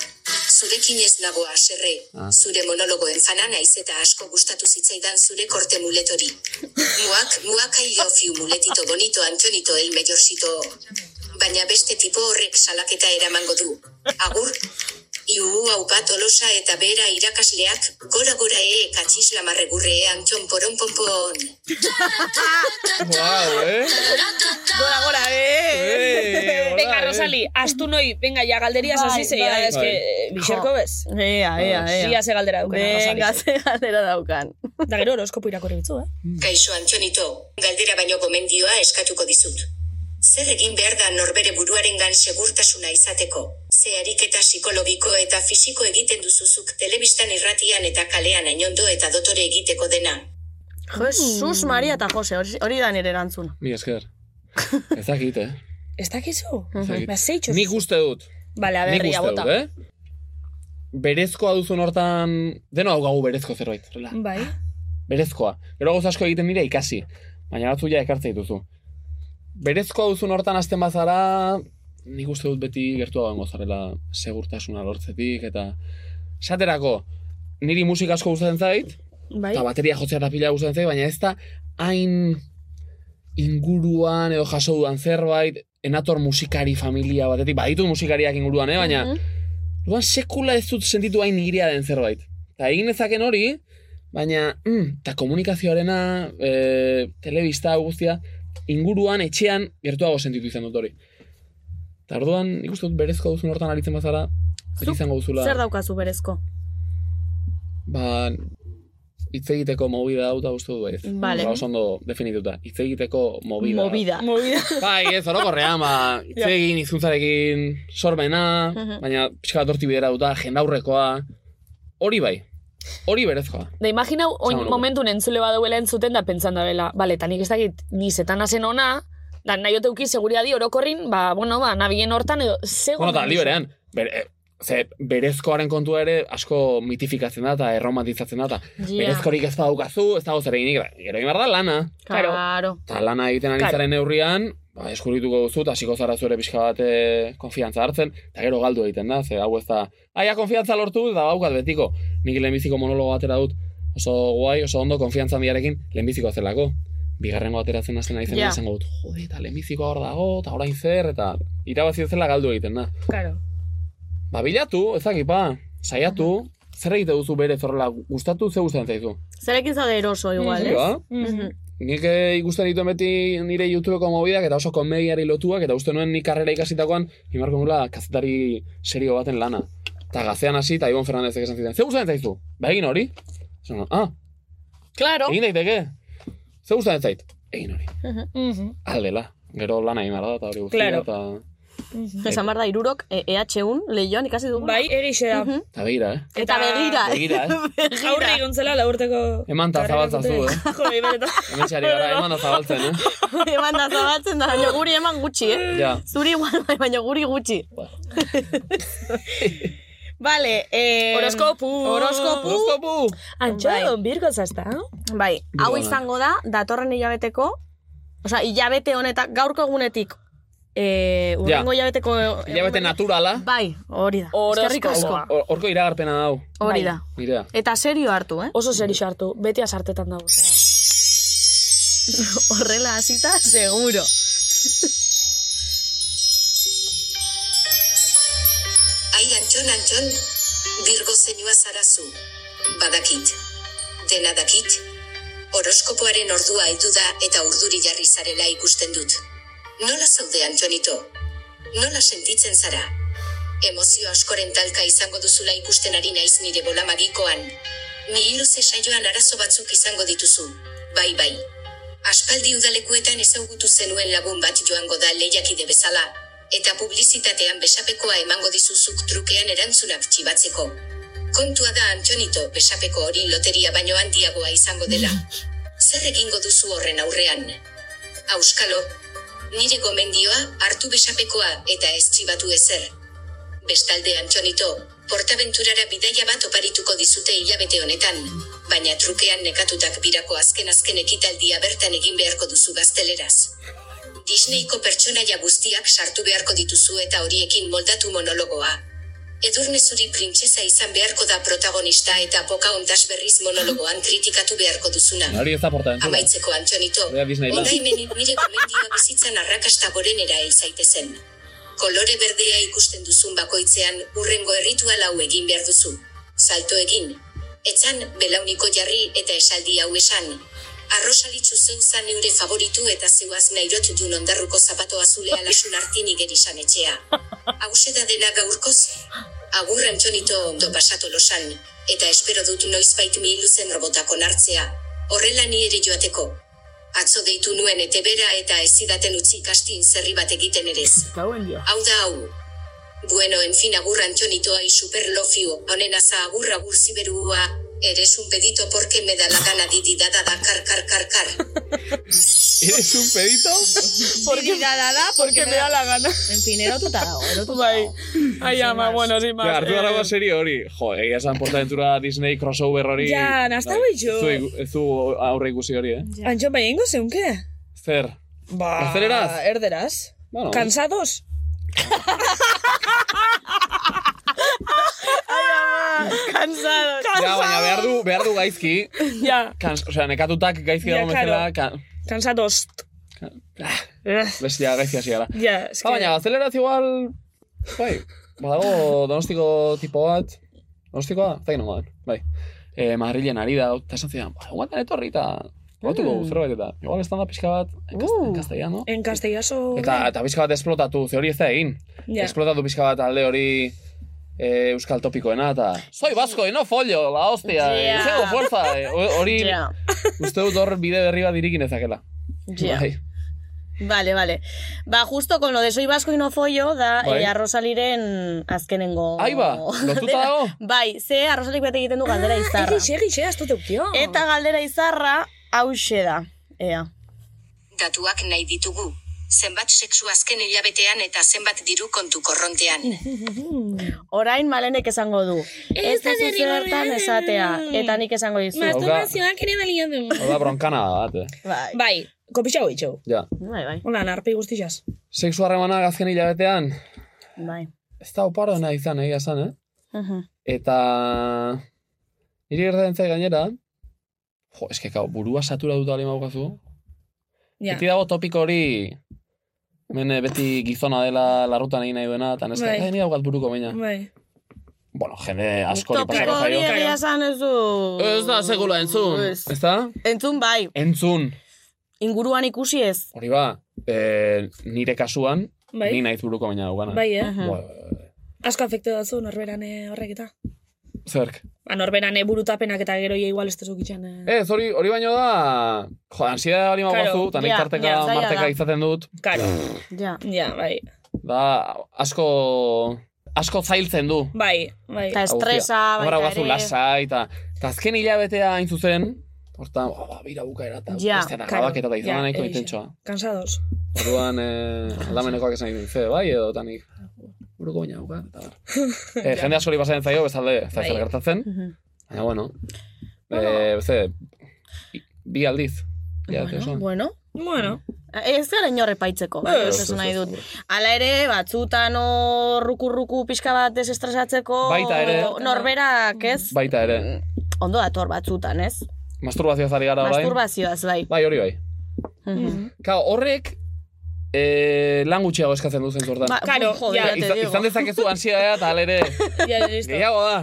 Speaker 17: Zurekin ez nago haserre.
Speaker 16: Ah.
Speaker 17: Zure monologoen fana naiz eta asko gustatu zitzaidan zure korte muletori. Muak, muak I love you muletito bonito Antonito el mellorcito. Baina beste tipo horrek salaketa eramango du. Agur, iu hau bat olosa eta bera irakasleak, gora gora e, katxiz lamarregurre Anton poron ponpon.
Speaker 1: Wow, eh?
Speaker 2: Gora, gora, eh!
Speaker 1: Venga,
Speaker 7: Rosali, astu noi, venga, ya galderias
Speaker 2: Bai,
Speaker 7: hasi zeia,
Speaker 2: bai.
Speaker 7: ez que, eh, bixerko bez.
Speaker 2: Ea, ea, ea.
Speaker 7: Ia ze galdera daukan.
Speaker 2: Venga, ze galdera daukan.
Speaker 7: Da gero horoskopo irakurri bitzu, eh?
Speaker 17: Kaixo Antonito, galdera baino gomendioa eskatuko dizut. Zer egin behar da norbere buruarengan segurtasuna izateko? Ze ariketa psikologiko eta fisiko egiten duzuzuk telebistan irratian eta kalean ainondo eta dotore egiteko dena.
Speaker 7: Hmm.
Speaker 2: Jesus, Maria eta Jose, hori- hori da nire erantzuna.
Speaker 1: Mi esker. Ez dakit, eh?
Speaker 7: Ez dakizu?
Speaker 1: Ez dakit.
Speaker 7: Ba, zeitxo.
Speaker 1: Nik uste dut.
Speaker 7: Bale, a ber,
Speaker 1: Nik
Speaker 7: ria
Speaker 1: uste
Speaker 7: bota.
Speaker 1: dut, eh? Berezkoa duzun hortan... Deno hau gau berezko zerbait. horrela.
Speaker 7: Bai.
Speaker 1: Berezkoa. Gero gauza asko egiten dira ikasi. Baina batzu ja ekartze dituzu. Berezkoa duzun hortan hasten bazara... Nik uste dut beti gertua dagoen zarela segurtasuna lortzetik eta... Esaterako, niri musika asko gustatzen zait,
Speaker 7: Bai.
Speaker 1: eta bateria jotzea eta pila gustatzen zait, baina ez da hain inguruan edo jaso dudan zerbait, enator musikari familia batetik, baditut musikariak inguruan, eh? baina
Speaker 10: Mhm.
Speaker 1: orduan sekula ez dut sentitu hain nirea den zerbait. Eta egin dezaken hori, baina, mm, eta komunikazioarena, e, telebista hau guztia, inguruan, etxean, gertuago sentitu izan dut hori. Eta orduan, ikusten dut berezko duzun hortan aritzen bazara, beti izango duzula.
Speaker 2: Zer daukazu berezko?
Speaker 1: Ba, hitz egiteko movida hau da uste dut baiz.
Speaker 2: Vale.
Speaker 1: Ba, oso ondo definituta. Hitz egiteko movida.
Speaker 2: Movida.
Speaker 1: Bai, ez orokorrean, ba, hitz
Speaker 2: Ja.
Speaker 1: egin hizkuntzarekin sormena,
Speaker 2: Mhm.
Speaker 1: baina pixka bat horti bidera duta, jendaurrekoa. Hori bai. Hori berezkoa.
Speaker 12: Da imaginau, oin
Speaker 1: Esango nuke.
Speaker 12: momentun entzule baduela entzuten da pentsan da bela. Bale, eta nik ez dakit, ni zetan hasen ona, da nahi oteuki seguriadi orokorrin, ba, bueno, ba, nabien hortan edo, zego.
Speaker 1: Bueno, eta liberean, ber, eh, ze, berezkoaren kontua ere asko mitifikatzen da eta erromantizatzen da. eta
Speaker 12: Ja.
Speaker 1: Berezkorik ez badaukazu, ez dago zer eginik. Gero egin behar da lana.
Speaker 12: Claro.
Speaker 1: Eta lana egiten ari
Speaker 12: Claro.
Speaker 1: zaren neurrian, ba, eskurrituko duzu, eta hasiko zara zure pixka bat eh, konfiantza hartzen, eta gero galdu egiten da, ze hau ez da, aia konfiantza lortu, eta baukat betiko. Nik lehenbiziko monologo atera dut, oso guai, oso ondo konfiantza handiarekin, lehenbiziko zelako. Bigarrengo ateratzen hasten naizen
Speaker 10: Ja.
Speaker 1: yeah. izango dut, jode, eta lehenbiziko hor dago, eta orain zer, eta irabazi zela galdu egiten da.
Speaker 7: Claro.
Speaker 1: Ba, bilatu, ezakipa, saiatu, zer egite duzu bere zorrela, gustatu, ze gustatzen zaizu.
Speaker 2: Zerekin zaude eroso igual,
Speaker 1: Mhm.
Speaker 2: ez?
Speaker 1: Ja.
Speaker 2: Mhm.
Speaker 1: Nik eh, ikusten dituen beti nire YouTubeko mobidak eta oso komediari lotuak eta uste nuen nik karrera ikasitakoan imarko nula kazetari serio baten lana. Eta gaztean hasi eta Ibon Fernandezek esan ziren, ze gustatzen zaizu? Ba egin hori? Esan, nuen, ah,
Speaker 12: Claro.
Speaker 1: egin daiteke? Ze gustatzen zait? Egin hori.
Speaker 12: Mhm.
Speaker 1: Aldela. Gero lana egin behar da eta hori guztia
Speaker 2: Claro.
Speaker 1: eta...
Speaker 2: Esan behar da, irurok e, EH1 lehioan ikasi dugu.
Speaker 7: Bai, egixe da.
Speaker 1: Eta begira, eh?
Speaker 2: Eta begira.
Speaker 1: Begira, eh?
Speaker 7: Aurre egon zela laurteko...
Speaker 1: Eman ta zabaltzazu, eh?
Speaker 7: Jode, benetan.
Speaker 1: Hemen txari gara, eman da zabaltzen, eh?
Speaker 2: eman da zabatzen da, baina guri eman gutxi, eh?
Speaker 1: Ja. Ba.
Speaker 2: Zuri igual, bai, baina guri gutxi. Vale, eh...
Speaker 7: Horoskopu.
Speaker 2: Horoskopu.
Speaker 1: Horoskopu.
Speaker 7: Antxo, birgo zazta.
Speaker 2: Bai, hau
Speaker 7: Birgoa.
Speaker 2: izango da, datorren hilabeteko, osea, hilabete honetak, gaurko egunetik, eh, urrengo hilabeteko...
Speaker 1: Hilabete naturala.
Speaker 2: Bai, hori da. Eskerrik asko.
Speaker 1: Hor- Horko iragarpena dau. Bai.
Speaker 2: Hori da.
Speaker 1: Nirea.
Speaker 2: Eta serio hartu, eh?
Speaker 12: Oso serio hartu, beti asartetan dago.
Speaker 2: Horrela hasita, seguro.
Speaker 17: Ai, Antxon, Antxon, birgo zenua zarazu. Badakit. Dena dakit. Horoskopoaren ordua heldu da eta urduri jarri zarela ikusten dut. Nola zaude, Antxonito? Nola sentitzen zara? Emozio askoren talka izango duzula ikusten ari naiz nire bola magikoan. Nihiluze saioan arazo batzuk izango dituzu. Bai, bai. Aspaldi udalekuetan ezagutu zenuen lagun bat joango da lehiakide bezala, eta publizitatean besapekoa emango dizuzuk trukean erantzunak txibatzeko. Kontua da Antonito besapeko hori loteria baino handiagoa izango dela. Zer egingo duzu horren aurrean? Auskalo, nire gomendioa hartu besapekoa eta ez txibatu ezer. Bestalde Antonito, portabenturara bidaia bat oparituko dizute hilabete honetan, baina trukean nekatutak birako azken azken ekitaldia bertan egin beharko duzu gazteleraz. Disneyko pertsonaia guztiak sartu beharko dituzu eta horiekin moldatu monologoa. Edurne zuri printzesa izan beharko da protagonista eta poka ondas berriz monologoan kritikatu beharko duzuna.
Speaker 1: Hori ez da porta
Speaker 17: Amaitzeko Antonito,
Speaker 1: Bea Disneyland.
Speaker 17: ondaimenin nire gomendioa bizitzan arrakasta gorenera elzaitezen. Kolore berdea ikusten duzun bakoitzean urrengo erritua lau egin behar duzu. Salto egin. Etzan, belauniko jarri eta esaldi hau esan. Arrosalitzu zein zan eure favoritu eta zeuaz nairotu dun ondarruko zapato azulea lasun artin igerizan etxea. Hauze da dena gaurkoz, agur antxonito ondo pasatu losan, eta espero dut noizbait mi iluzen robotako nartzea, horrela ni ere joateko. Atzo deitu nuen ete bera eta ez zidaten utzi kastin zerri bat egiten erez. Hau da hau. Bueno, en fin, agur Antonitoa y super lofio, honen aza agur agur ziberua, eres un pedito porque me da la gana dididada da kar kar kar kar.
Speaker 1: ¿Eres un pedito?
Speaker 8: Porque da da da,
Speaker 12: porque me da la gana.
Speaker 8: En fin, erotuta dago, erotuta
Speaker 12: Bai. Ai, ama, bueno, sin más.
Speaker 1: Ja,
Speaker 7: eh,
Speaker 1: hartu dago serie hori. Jo, eh, egia esan portaventura Disney crossover hori.
Speaker 7: Ja, nazta
Speaker 1: Bai.
Speaker 7: baitu.
Speaker 1: Ez du- Ez du aurre ikusi hori, eh?
Speaker 7: Antxon
Speaker 2: bai,
Speaker 7: baina ingo zeunke?
Speaker 1: Zer.
Speaker 7: Ba, Ah,
Speaker 1: Gazteleraz?
Speaker 7: Erderaz.
Speaker 1: Bueno.
Speaker 7: Kansados?
Speaker 2: Kansados.
Speaker 1: Ja, baina behar du, behar du gaizki.
Speaker 7: Ja.
Speaker 1: Kans, osea, nekatutak gaizki
Speaker 7: Ja,
Speaker 1: dago bezala. Kan,
Speaker 7: Kansados. Ah.
Speaker 1: bestia gaizki hasi gara.
Speaker 7: Ja, eske...
Speaker 1: Ah, baina, gazteleraz igual... Bai, badago donostiko tipo bat. Donostikoa, ez dakit nongoa den, bai. Eh, Madrilen ari da, eta esan zidan, ba, guantan etorri eta... Gotuko,
Speaker 7: Mm.
Speaker 1: zerbait eta. Igual estan da pixka bat, pues en kas- en castellano.
Speaker 7: Uh. En castellaso...
Speaker 1: Eta, eta pixka bat esplotatu, ze hori ez da egin.
Speaker 7: Ja.
Speaker 1: Esplotatu pixka bat alde hori eh, euskal topikoena, eta... Soy vasco, y no follo, la hostia,
Speaker 2: Ja.
Speaker 1: yeah. zego fuerza, eh, ho- hori...
Speaker 2: Ja.
Speaker 1: Uste dut hor bide berri bat irikin ezakela.
Speaker 2: Ja.
Speaker 1: Bai.
Speaker 2: Vale, vale. Ba, justo con lo de soy vasco y no follo, da,
Speaker 1: Bai.
Speaker 2: bai. eh, arrosaliren azkenengo...
Speaker 1: Ahí ba, lotuta dago?
Speaker 2: Bai, ze arrosalik bete egiten du galdera izarra.
Speaker 7: Egi, egi, egi, ez dut eukio.
Speaker 2: Eta galdera izarra, hauxe da. Ea.
Speaker 17: Datuak nahi ditugu. Zenbat sexu azken hilabetean eta zenbat diru kontu korrontean.
Speaker 2: Orain malenek esango du. Ez
Speaker 17: da
Speaker 2: da zertan esatea. Eta nik esango dizu.
Speaker 7: Masturbazioak ere balio du.
Speaker 1: Hau da bronkana da bat, eh.
Speaker 2: Bai.
Speaker 7: Bai, kopitxa hoi txau.
Speaker 1: Ja.
Speaker 2: Bai, bai.
Speaker 7: Una, narpi guztixaz.
Speaker 1: Sexu harremanak azken hilabetean,
Speaker 2: Bai.
Speaker 1: ez da oparona izan, egia esan, eh? Eta... Niri gertatzen zait gainera, jo, eske kau, burua satura dut alima bukazu.
Speaker 7: Ja.
Speaker 1: Beti dago topiko hori, hemen eh, beti gizona dela larrutan egin nahi duena, eta neska,
Speaker 7: Bai.
Speaker 1: bai. ni daukat buruko baina.
Speaker 7: Bai.
Speaker 1: Bueno, jende askori
Speaker 2: Topiko
Speaker 1: pasako
Speaker 2: hori
Speaker 1: zaio.
Speaker 2: egia esan ez du...
Speaker 1: Ez da, sekula entzun.
Speaker 2: Ez.
Speaker 1: Ez da?
Speaker 2: Entzun bai,
Speaker 1: Entzun,
Speaker 2: inguruan ikusi ez.
Speaker 1: hori ba, eh, nire kasuan,
Speaker 7: Bai.
Speaker 1: ni naiz buruko baina daukana.
Speaker 7: Bai, eh?
Speaker 1: Bo,
Speaker 7: Asko afekte datzu norberan eh, horrek eta.
Speaker 1: zerk.
Speaker 7: Ba, norberan eh, burutapenak eta gero ia igual ez tezukitxan. Eh.
Speaker 1: Ez, hori, hori baino da... Jo, ansiedade hori
Speaker 7: Claro,
Speaker 1: magoazu, eta nik
Speaker 7: ja,
Speaker 1: tarteka,
Speaker 7: ja, zaila da.
Speaker 1: marteka izaten dut.
Speaker 7: Claro.
Speaker 2: Ja.
Speaker 7: Ja, bai.
Speaker 1: Da, asko... Asko zailtzen du.
Speaker 7: Bai, bai.
Speaker 2: Eta estresa,
Speaker 1: bai. Hora
Speaker 2: baita
Speaker 1: guazu
Speaker 2: ere.
Speaker 1: lasa, eta... Eta azken hilabetea hain zuzen, hortan, oh, ba, bira bukaera, eta
Speaker 2: Ja,
Speaker 1: bestean
Speaker 2: claro,
Speaker 1: agabaketa eta izan
Speaker 2: ja,
Speaker 1: nahiko
Speaker 2: egia.
Speaker 1: intentsoa.
Speaker 7: Kansados.
Speaker 1: Orduan, eh, aldamenekoak esan ditu, ze, bai, edo, eta nik... Buruko baina dauka, eta bar. Eh, jende askori pasaren zaio, bestalde, ez da
Speaker 7: Bai.
Speaker 1: zer gertatzen. Baina, bueno, eh, ze, bi- bi aldiz. Ja, eta esan.
Speaker 2: Bueno.
Speaker 7: Bueno.
Speaker 2: Ez gara inorre paitzeko, bai,
Speaker 1: Ez,
Speaker 2: ez
Speaker 1: ez,
Speaker 2: esan nahi
Speaker 1: ez,
Speaker 2: dut. Hala ere, batzutan hor ruku-ruku pixka bat desestresatzeko
Speaker 1: Baita ere.
Speaker 2: norberak ez,
Speaker 1: Baita ere.
Speaker 2: ondo dator batzutan, ez?
Speaker 1: Masturbazioaz ari gara orain.
Speaker 2: Masturbazioaz, bai.
Speaker 1: Bai, hori bai. Ka, horrek eh, lan gutxiago eskatzen du zentzu hortan.
Speaker 2: Ba, Claro, joder, ja. ya te
Speaker 1: izan,
Speaker 2: digo.
Speaker 1: izan dezakezu ansiedadea eta alere
Speaker 7: Ja, listo.
Speaker 1: gehiago da.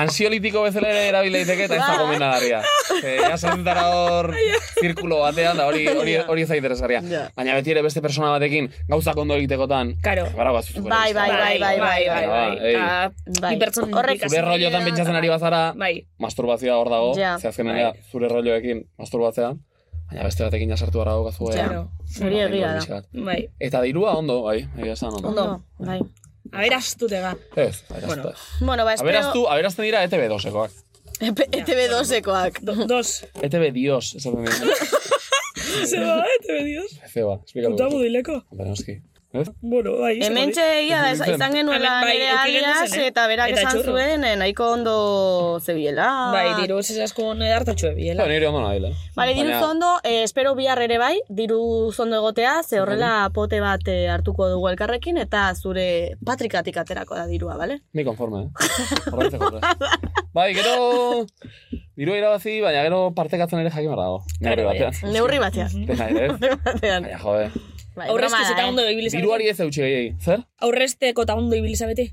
Speaker 1: Ansiolitiko bezala ere erabil daiteke eta ez da
Speaker 7: Bai.
Speaker 1: gomendagarria. Eh, ja sartzen zara hor zirkulo batean da hori hori hori ez da interesgarria. Baina beti ere beste persona batekin gauzak ondo egitekotan.
Speaker 7: Claro.
Speaker 1: Gara batzuko.
Speaker 2: Bai, bai, bai, bai, bai, bai,
Speaker 1: bai.
Speaker 7: bai. Ta,
Speaker 2: Bai.
Speaker 7: bi pertsonen
Speaker 2: Horrek-
Speaker 1: Zure rollotan pentsatzen ari bazara,
Speaker 7: Bai.
Speaker 1: masturbazioa hor dago,
Speaker 2: Ja. Bai.
Speaker 1: ze azkenean ja, zure rolloekin masturbatzea, baina beste batekin sartu gara daukazu. eh,
Speaker 7: Claro.
Speaker 2: Hori
Speaker 1: ba,
Speaker 2: egia
Speaker 1: dirua
Speaker 2: da.
Speaker 1: pixka bat.
Speaker 7: Bai.
Speaker 1: Eta dirua ondo, bai, egia esan ondo.
Speaker 2: Ondo, bai.
Speaker 7: Aber astutega.
Speaker 1: Ez, aberazta.
Speaker 2: Bueno, ba,
Speaker 1: Aberaztu,
Speaker 2: espero...
Speaker 1: aberazten dira E ETB2-ekoak.
Speaker 2: E, ETB2-ekoak.
Speaker 7: Dos.
Speaker 1: E ETB2, esaten dira.
Speaker 7: Zeba, ete bedios.
Speaker 1: Zeba, esplikatu.
Speaker 7: Puta budileko.
Speaker 1: Hombre, noski. Ez?
Speaker 7: Bueno, bai. izango
Speaker 2: Hemen
Speaker 7: dit.
Speaker 2: egia da,
Speaker 1: Hementxe.
Speaker 2: izan genuela
Speaker 7: Hemen, bai,
Speaker 2: nire
Speaker 7: eduki genuen
Speaker 2: alias,
Speaker 7: zen, eh?
Speaker 2: eta berak
Speaker 7: Eta
Speaker 2: esan
Speaker 7: txurru.
Speaker 2: zuen, eh, nahiko ondo zebiela.
Speaker 7: Bai, diru ez asko hartatxue biela.
Speaker 1: Ba, nire ondo nabila.
Speaker 2: Bale, diru zondo, eh, espero bihar ere bai, diru zondo egotea, ze horrela pote bat eh, hartuko dugu elkarrekin, eta zure patrikatik aterako da dirua, bale?
Speaker 1: Ni konforme, eh? Horretzeko, eh? Bai, gero... Dirua irabazi, baina gero partekatzen ere jakin behar dago. Neurri
Speaker 2: Claro,
Speaker 1: batean.
Speaker 2: bai. Neurri batean.
Speaker 1: Dena ere, ez?
Speaker 2: Neurri batean.
Speaker 1: Baina, jode.
Speaker 2: Bai,
Speaker 7: Aurrezkez
Speaker 2: broma da,
Speaker 7: eta
Speaker 2: eh?
Speaker 7: ondo ibili zabete.
Speaker 1: Diruari ez eutxe gehiagi. Zer?
Speaker 7: Aurrezteko eta ondo ibili zabete.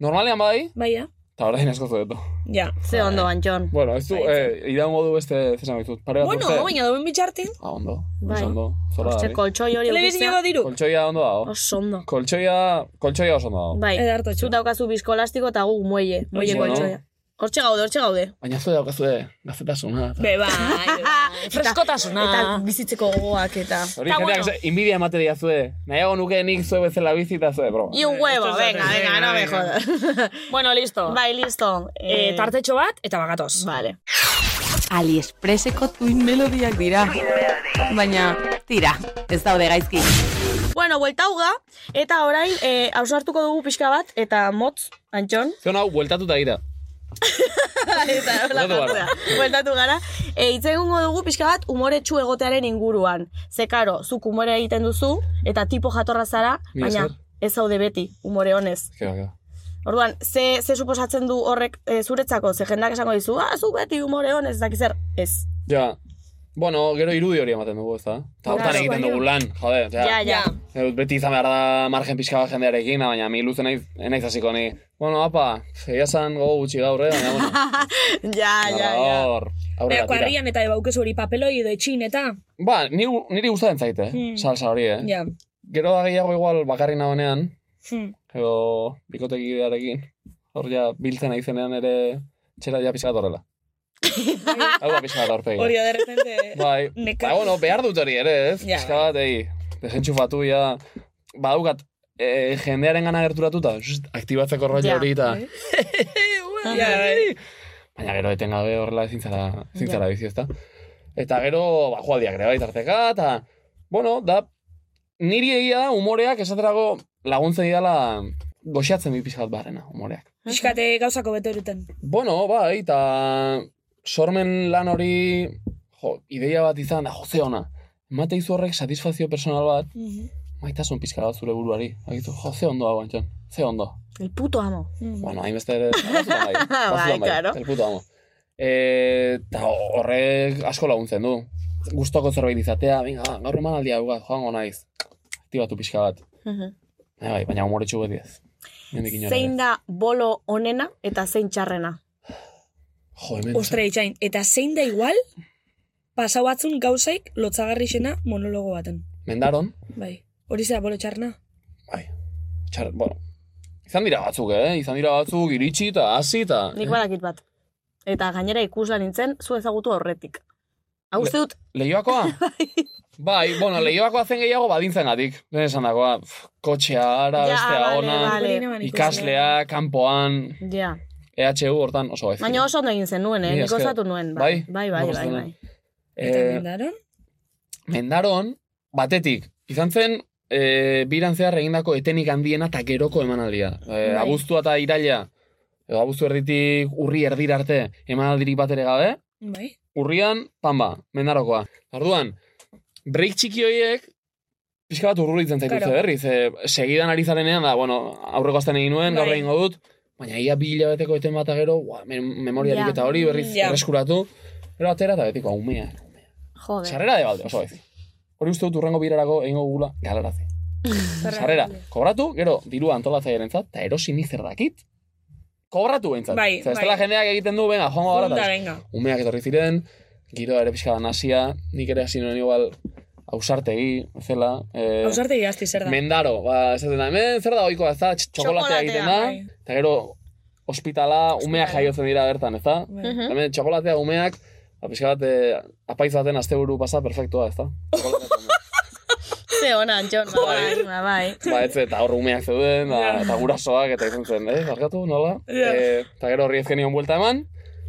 Speaker 1: Normalean bai,
Speaker 7: Bai, ja.
Speaker 1: eta orain asko zuetu.
Speaker 2: Ja. Ze ondo, Antxon.
Speaker 1: Bueno, ez du, eh, iraungo du beste zesan ditut. Pare bat
Speaker 2: Bueno,
Speaker 1: urte-
Speaker 2: baina
Speaker 7: dauen bitxartin.
Speaker 1: Ah, ondo.
Speaker 2: Bai.
Speaker 1: Bai. Ondo. Zora
Speaker 2: Hortxe, koltsoi hori Telebizinako edukitzea. diru.
Speaker 1: Koltsoia ondo dago.
Speaker 2: Oso ondo.
Speaker 1: Koltsoia, koltsoia oso ondo dago.
Speaker 2: Bai, zu daukazu bizkolastiko eta gu muelle, muelle
Speaker 1: Bueno.
Speaker 2: koltsoia. Hortxe gaude, hortxe gaude.
Speaker 1: Baina zu daukazue gaztetasuna. eta-
Speaker 2: Be, bai, freskotasuna. Eta, bizitzeko gogoak eta...
Speaker 1: Hori jendeak bueno. inbidia emate dira zue. Nahiago nuke nik zue bezala bizita zue, bro.
Speaker 2: Y un huevo, venga, venga, no me jodas.
Speaker 12: bueno, listo.
Speaker 2: Bai, listo.
Speaker 12: Eh, tartetxo bat, eta bagatoz.
Speaker 2: Vale.
Speaker 8: Aliexpreseko tuin melodiak dira. Baina, tira, ez daude gaizki.
Speaker 2: Bueno, buelta uga, eta orain, eh, ausartuko dugu pixka bat, eta motz, Antxon.
Speaker 1: Zion hau, bueltatuta gira.
Speaker 2: eta hola
Speaker 1: Bueltatu gara.
Speaker 2: jartzea. Bueltatu gara. E, Itz egingo dugu pixka bat umoretsu egotearen inguruan. Ze karo, zuk umore egiten duzu, eta tipo jatorra zara,
Speaker 1: Mila
Speaker 2: baina
Speaker 1: esker.
Speaker 2: ez zaude beti, umore honez.
Speaker 1: Kera, kera.
Speaker 2: Orduan, ze, ze suposatzen du horrek e, zuretzako, ze jendak esango dizu, ah, zu beti umore honez, dakizer, ez.
Speaker 1: Ja. Bueno, gero irudi hori ematen dugu, ez da? Eta hortan
Speaker 2: Claro.
Speaker 1: egiten dugu lan, jode. Ja,
Speaker 2: Ja, ja.
Speaker 1: Eh, Beti izan behar da margen pixka bat jendearekin, baina mi luzen naiz, naiz hasiko ni. Bueno, apa, egia zan gogo gutxi gaur, eh? Baina, bueno,
Speaker 2: ja,
Speaker 1: ja, hor, aurrera
Speaker 7: Beako
Speaker 1: tira.
Speaker 7: harrian eta ebaukezu hori papeloi edo etxin eta...
Speaker 1: Ba, ni, niri gustatzen zaite,
Speaker 7: Hmm.
Speaker 1: eh? salsa hori, eh?
Speaker 7: Ja.
Speaker 1: Gero da gehiago igual bakarri nagoenean,
Speaker 7: Hmm.
Speaker 1: edo bikotekidearekin, hor ja biltzen aizenean ere txera ja pixka bat horrela. Hau da pixka bat aurpegi.
Speaker 7: Hori da, de repente...
Speaker 1: Bai,
Speaker 7: neka.
Speaker 1: ba, bueno, behar dut hori ere, ez?
Speaker 7: Ja,
Speaker 1: Pixka bat, ei, desentxufatu ja, badukat, e, jendearen gana gerturatuta, zzt, aktibatzeko rollo
Speaker 7: Ja.
Speaker 1: hori eta,
Speaker 7: Bai. Ja, bai.
Speaker 1: baina gero etengabe horrela ezin zara, ezin zara bizi, ezta? Eta gero, ba, joaldiak ere bai tarteka, eta, bueno, da, niri egia da umoreak esaterako laguntzen didala goxatzen bi pixka bat barrena, umoreak.
Speaker 7: Piskate gauzako bete horuten.
Speaker 1: Bueno, bai, eta sormen lan hori, jo, ideia bat izan da, joze ona. Emate izu horrek satisfazio personal bat, maitasun pizka bat zure buruari. Agitu, jo, ze ondo hau antxon, ze ondo.
Speaker 2: El puto amo.
Speaker 1: Bueno, hainbeste ere, batzutan bai,
Speaker 2: Bai,
Speaker 1: batzutan bai,
Speaker 2: claro.
Speaker 1: el puto amo. E, eta horrek asko laguntzen du. Gustoko zerbait izatea, venga, ba, gaur eman aldia dugat, joango naiz. Aktibatu pixka bat. Bai, bai, baina humoretsu beti ez. Mendik inora ere.
Speaker 2: Zein da bolo onena eta zein txarrena?
Speaker 1: Jo, hemen.
Speaker 7: Ostra itxain, eta zein da igual, pasau batzun gauzaik lotzagarri xena monologo baten.
Speaker 1: Mendaron,
Speaker 7: Bai. Hori zera bolo txarna?
Speaker 1: txar, bueno, izan dira batzuk, eh? Izan dira batzuk iritsi eta hasi eta...
Speaker 2: Nik badakit bat. Eta gainera ikusla nintzen, zu ezagutu horretik. Hau
Speaker 1: Ba-
Speaker 2: uste dut,
Speaker 1: Leioakoa? bai, bueno, leioakoa zen gehiago badintzen gatik. Lehen esan dagoa, pf, kotxea ara,
Speaker 2: Ja,
Speaker 1: bestea
Speaker 2: bale,
Speaker 1: ona,
Speaker 2: bale. Hori neban ikusi.
Speaker 1: ikaslea, kanpoan,
Speaker 2: ja.
Speaker 1: EHU hortan oso gaizki.
Speaker 2: Baina oso ondo egin zen nuen, eh?
Speaker 1: Mila
Speaker 2: Nik
Speaker 1: esker.
Speaker 2: osatu nuen.
Speaker 1: Bai?
Speaker 2: Bai, bai,
Speaker 1: Oso
Speaker 2: bai,
Speaker 1: ondo.
Speaker 2: bai.
Speaker 1: Eh, Mendaron, batetik, izan zen, e, biran zehar egindako etenik handiena eta geroko emanaldia. E,
Speaker 10: Bai.
Speaker 1: Abuztua eta iraila, edo abuztu erditik urri erdira arte emanaldirik bat ere gabe,
Speaker 7: Bai.
Speaker 1: urrian, pamba, mendarokoa. Orduan, break txiki horiek, pixka bat urruritzen zaitu
Speaker 10: Claro.
Speaker 1: claro. berriz. E, segidan ari zarenean, da, bueno, aurreko azten egin nuen, gaur
Speaker 10: Bai.
Speaker 1: egingo dut, baina ia bi hilabeteko eten bat gero, ua, me- memoriarik
Speaker 10: Ja.
Speaker 1: eta hori berriz
Speaker 10: Ja.
Speaker 1: erreskuratu, gero atera eta betiko, umea.
Speaker 2: Jode.
Speaker 1: Sarrera de balde, oso gaizki. Hori uste dut urrengo birarako egingo gula galarazi. Sarrera, kobratu, gero, dirua antolatzailearen zat, eta erosi ni zer dakit, kobratu behintzat.
Speaker 7: Bai,
Speaker 1: Zer, ez dela
Speaker 7: bai.
Speaker 1: jendeak egiten du, venga, joango gara.
Speaker 7: Punta,
Speaker 1: eta-
Speaker 7: venga.
Speaker 1: umeak etorri ziren, giroa ere pixka bat nasia, nik ere hasi nuen igual ausartegi, zela. Eh,
Speaker 7: Ausarte irazti zer da.
Speaker 1: Mendaro, ba, esaten da, hemen zer da oikoa, ez da, tx- txokolatea egiten da,
Speaker 7: Txokolatea, bai.
Speaker 1: eta gero, ospitala, umeak jaiotzen dira bertan, ez da?
Speaker 7: Mhm.
Speaker 1: Hemen, txokolatea umeak, ba, pixka bat, eh, apaiz baten asteburu pasa, perfektua, ez da?
Speaker 2: Ze ona, Antxon, ba, bai, ba, bai.
Speaker 1: Ba, etze, eta hor umeak zeuden, da, eta gurasoak, eta izan zen, eh, barkatu, nola?
Speaker 2: Ja.
Speaker 1: Eh, Eta gero horri ezken nion buelta eman,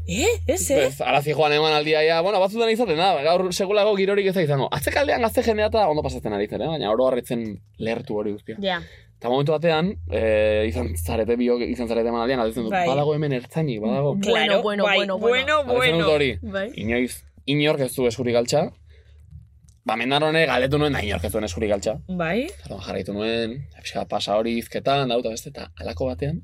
Speaker 7: Eh, ez, eh?
Speaker 1: Ez, arazi joan eman aldia, ja, bueno, batzutan izaten da, ba, gaur segulago girorik ez da izango. Atzekaldean gazte jendea eta ondo pasatzen ari zen, eh? baina oro harritzen lertu hori guztia.
Speaker 2: Ja.
Speaker 1: Eta momentu batean, eh, izan zarete biok, izan zarete eman aldian, galdetzen dut,
Speaker 2: Bai.
Speaker 1: badago hemen ertzainik, badago.
Speaker 2: Bueno, bueno,
Speaker 7: bai,
Speaker 2: bueno,
Speaker 7: bueno,
Speaker 1: Galdetzen dut hori,
Speaker 2: Bai.
Speaker 1: inoiz, inork ez du eskurik galtza, ba, mendarone galetu nuen da inork ez duen eskurik galtza.
Speaker 7: Bai.
Speaker 1: Eta jarraitu nuen, pixka bat pasa hori izketan, dauta beste, eta alako batean,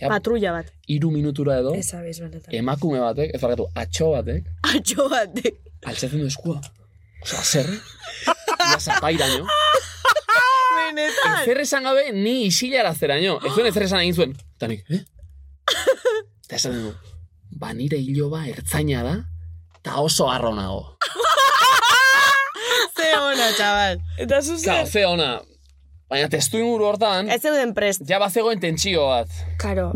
Speaker 1: ja,
Speaker 2: Patrulla bat.
Speaker 1: iru minutura edo,
Speaker 7: Ez abiz benetan.
Speaker 1: emakume batek, ez barkatu, atxo batek,
Speaker 2: Atxo batek.
Speaker 1: altzatzen du eskua. Osa, zer? Ia zapairaino.
Speaker 2: Benetan.
Speaker 1: Zer esan gabe ni isilarazteraino. Ez zuen ezer esan egin zuen. Tanik, eh? Eta esaten du.
Speaker 16: ba nire hiloba ertzaina da, eta oso arro nago.
Speaker 2: Ze ona, txabal.
Speaker 1: Eta zuzen. ze ona. Baina testu inguru hortan...
Speaker 2: Ez zeuden prest.
Speaker 1: Ja bazegoen tentsio bat.
Speaker 2: Karo.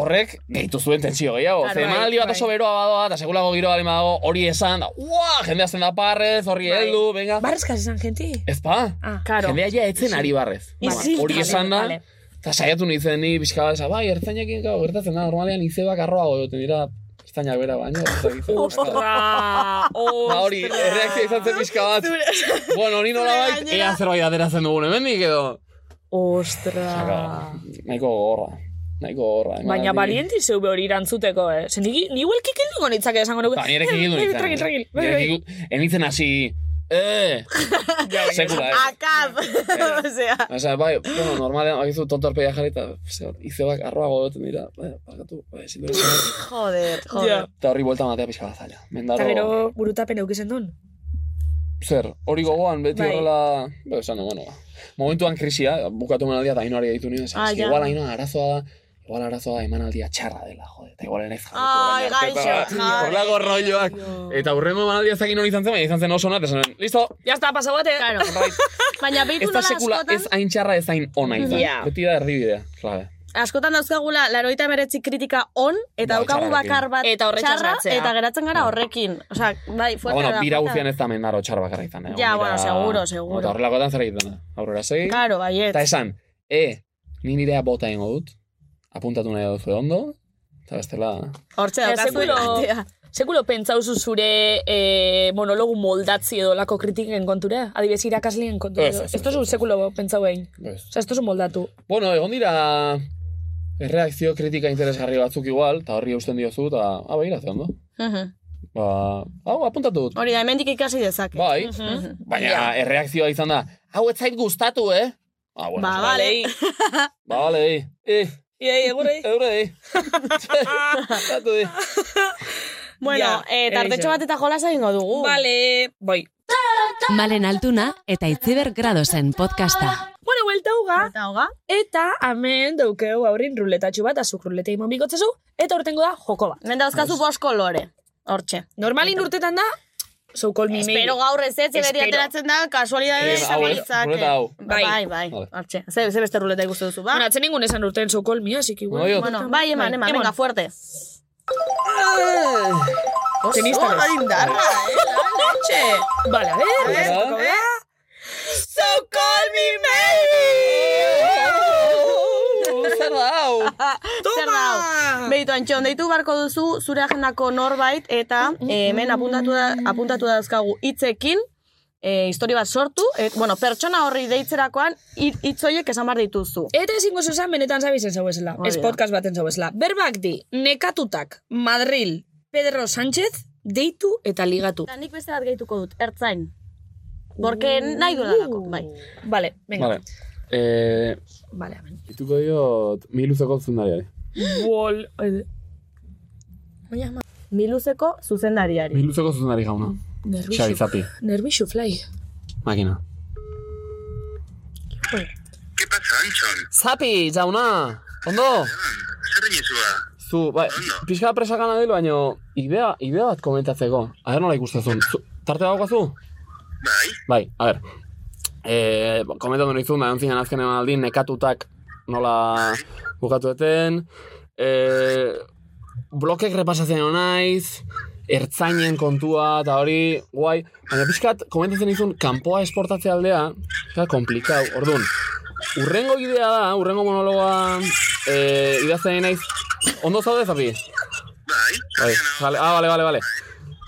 Speaker 1: Horrek gehitu zuen tentsio gehiago.
Speaker 2: Claro,
Speaker 1: Claro,
Speaker 2: bai,
Speaker 1: Zemaldi bat
Speaker 2: bai.
Speaker 1: oso beroa badoa, eta segulago giroa lima dago, hori esan, da, ua, jendea zen da parrez,
Speaker 7: Bai.
Speaker 1: horri heldu, venga.
Speaker 7: Barrez kasi zan genti?
Speaker 1: Ez pa?
Speaker 7: Ah, karo.
Speaker 1: Jendea ja etzen ari barrez.
Speaker 7: Vale. Isil,
Speaker 1: Hori
Speaker 7: vale,
Speaker 1: esan da,
Speaker 7: vale.
Speaker 1: eta saiatu nintzen ni pixka bat, esan, bai, ertzainekin gau, gertatzen da, normalean izebak arroago egoten dira, ertzainak bera baino. ez dakit. Ba hori,
Speaker 16: é
Speaker 1: erreakzioa izan zen pixka bat. bueno, hori nola bai? bait, ea zerbait ateratzen dugun, hemendik edo.
Speaker 7: Ostra.
Speaker 1: Nahiko gorra. Nahiko gorra.
Speaker 12: Baina
Speaker 7: Balienti zeu hori irantzuteko, eh? Sentiki, ni huel kikilduko nitzake esango nuke.
Speaker 1: Ba, nire kikildu nintzen.
Speaker 7: Tragil, tragil. Bai,
Speaker 1: Nire
Speaker 7: bai.
Speaker 1: kikildu- Enitzen hasi, eh, sekula, eh.
Speaker 2: Akap. Osea.
Speaker 1: Osa, bai, bueno, normalean, bakizu tonto arpeia jarri, eta ze, izebak arroago goten dira, bai, bakatu, bai, zindu.
Speaker 2: Joder,
Speaker 7: Ja.
Speaker 2: joder.
Speaker 1: Eta horri buelta matea pixka bat zaila.
Speaker 7: Eta gero
Speaker 1: Mendaro,
Speaker 7: burutapen eukizen duen.
Speaker 1: zer, hori gogoan, beti
Speaker 7: Bai.
Speaker 1: horrela, bai, esan, no, bueno, ba. Momentuan krisia, bukatu emanaldia, eta hainoari ditu nien, esan,
Speaker 2: Ah,
Speaker 1: "Eske,
Speaker 2: ja.
Speaker 1: igual hainoa arazoa da, igual arazoa da emanaldia txarra dela, jode, eta igual ere ez jarriko.
Speaker 2: Ai,
Speaker 1: orain arte, eta,
Speaker 2: gaixo, jode.
Speaker 1: Horrelako rolloak. ah. Eta hurrengo emanaldia ez dakit non izan zen, baina izan zen oso nat, esan, listo,
Speaker 7: Ya está, Bai. pasau bate.
Speaker 2: Claro. Baina
Speaker 1: ez
Speaker 2: beitu
Speaker 1: da
Speaker 2: nola
Speaker 1: sekula,
Speaker 2: askotan,
Speaker 1: ez hain txarra, ez hain ona izan.
Speaker 2: Ja.
Speaker 1: Beti da erdibidea, Ba, klabe.
Speaker 2: askotan dauzkagula, laroita meretzi kritika on,
Speaker 1: Bai,
Speaker 2: eta daukagu
Speaker 1: txarrarekin.
Speaker 2: bakar bat
Speaker 7: Eta horretxan
Speaker 2: txarra,
Speaker 7: sartzea.
Speaker 2: eta geratzen gara horrekin. Osea, bai,
Speaker 1: Ba,
Speaker 2: fuerte
Speaker 1: bueno,
Speaker 2: da,
Speaker 1: bira
Speaker 2: fuerte da.
Speaker 1: guztian ez da mendaro txar bakarra izan, eh? Bira-
Speaker 2: Ja, bueno, seguro, seguro.
Speaker 1: Eta horrelakoetan zer egiten da. Aurrera segi.
Speaker 2: Claro, bai, baiet.
Speaker 1: Eta esan, e, ni nirea bota ingo dut, apuntatu nahi dut ondo, eta bestela...
Speaker 2: Hortxe
Speaker 7: Eh,
Speaker 2: daukazu
Speaker 7: sekulo,
Speaker 2: atea.
Speaker 7: sekulo pentsauzu zure eh, monologu moldatzi edo lako kritiken kontura? Adibidez, irakaslien kontura.
Speaker 1: Ez,
Speaker 7: edo?
Speaker 1: ez,
Speaker 7: Ez tozu sekulo pentsau egin.
Speaker 1: Bez.
Speaker 7: Osa, ez tozu moldatu.
Speaker 1: Bueno, egon dira erreakzio kritika interesgarri batzuk igual, eta horri eusten diozu, eta, ah, behira, ze ondo.
Speaker 2: Mhm.
Speaker 1: Ba, hau, apuntatu dut.
Speaker 2: Hori da, hemendik ikasi dezake.
Speaker 1: Bai.
Speaker 2: Mhm.
Speaker 1: Baina erreakzioa izan da, hau ez zait gustatu, eh? Ah, bueno,
Speaker 2: Ba,
Speaker 1: esan,
Speaker 2: bale.
Speaker 1: Ba, vale, eh.
Speaker 7: Iei, egurei.
Speaker 1: Egurei. Tatu di.
Speaker 2: Bueno,
Speaker 7: Ja,
Speaker 2: eh, tartetxo
Speaker 7: erixo.
Speaker 2: bat eta jolasa egingo dugu.
Speaker 7: Bale, boi.
Speaker 15: Malen Altuna eta Itziber Gradosen podcasta.
Speaker 7: Bueno, buelta uga.
Speaker 2: Eta hoga.
Speaker 7: Eta amen daukeu aurrin ruletatxu bat, azuk ruletei imon bikotzezu, eta hortengo da joko bat.
Speaker 2: Hemen dauzkazu bost kolore. Hortxe.
Speaker 7: Normalin urtetan da, so call me maybe.
Speaker 2: Espero gaur ez ez, beti
Speaker 7: Espero.
Speaker 2: ateratzen da, kasualidade
Speaker 1: Eh, hau ez,
Speaker 2: zabaltzake.
Speaker 1: ruleta hau.
Speaker 2: Bai, bai, bai.
Speaker 1: Vale.
Speaker 2: Hortxe. Ze, ze beste ruleta ikusten duzu, ba?
Speaker 7: Bueno, atzen ningun esan urten so call me, así que igual.
Speaker 1: Oiot.
Speaker 2: Bueno, bai, eman, eman, venga, fuerte.
Speaker 1: Ah!
Speaker 7: Tenista.
Speaker 2: Oso indarra, eh, lan, etxe.
Speaker 7: Vale, a ver.
Speaker 2: ver,
Speaker 7: esto tocó,
Speaker 2: a
Speaker 7: ¿eh? So call me
Speaker 1: Zer da hau?
Speaker 2: Zer da hau? Beitu, Antxon, deitu barko duzu zure agendako norbait eta
Speaker 7: Mm-hmm.
Speaker 2: eh, hemen apuntatu, da, apuntatu dauzkagu hitzekin eh, histori bat sortu, et, bueno, pertsona horri deitzerakoan hitzoiek esan behar dituzu.
Speaker 7: Eta ezingo zuzan benetan zabizen zauezela.
Speaker 2: Hori
Speaker 7: Ez
Speaker 2: da.
Speaker 7: podcast baten zauezela. Berbak di, nekatutak, Madril, Pedro Sánchez, deitu eta ligatu.
Speaker 2: Eta nik beste bat gehituko dut, ertzain. Porque nahi duela dako, bai.
Speaker 7: Uh. Vale, venga.
Speaker 1: Vale. Eh,
Speaker 7: Vale, amen.
Speaker 1: Ituko diot, mi luzeko zundariari.
Speaker 7: Wol.
Speaker 2: eh, Miluzeko zuzendariari.
Speaker 1: Mi luzeko zuzendari jauna.
Speaker 7: Mm,
Speaker 1: Xabi
Speaker 7: Nervixu.
Speaker 1: Zati,
Speaker 7: Nervixu, fly.
Speaker 1: makina. Zapi, jauna! Ondo!
Speaker 18: Zer dinizua?
Speaker 1: Zu, bai, pixka presakana delo, baino, idea, idea bat komentatzeko. Aher nola ikustezun. Zu, tarte daukazu? Bai. Bai, a ber. E, komentatu nizun, da, entzinen azken emanaldin, nekatutak nola bukatu eten. E, blokek repasatzen hon naiz, ertzainen kontua, eta hori, guai. Baina pixkat, komentatzen nizun, kanpoa esportatze aldea, pixka, komplikau, orduan. Urrengo idea da, urrengo monologa e, idazten naiz, ondo zaude zapi? Bai, vale, ah, vale, vale, vale.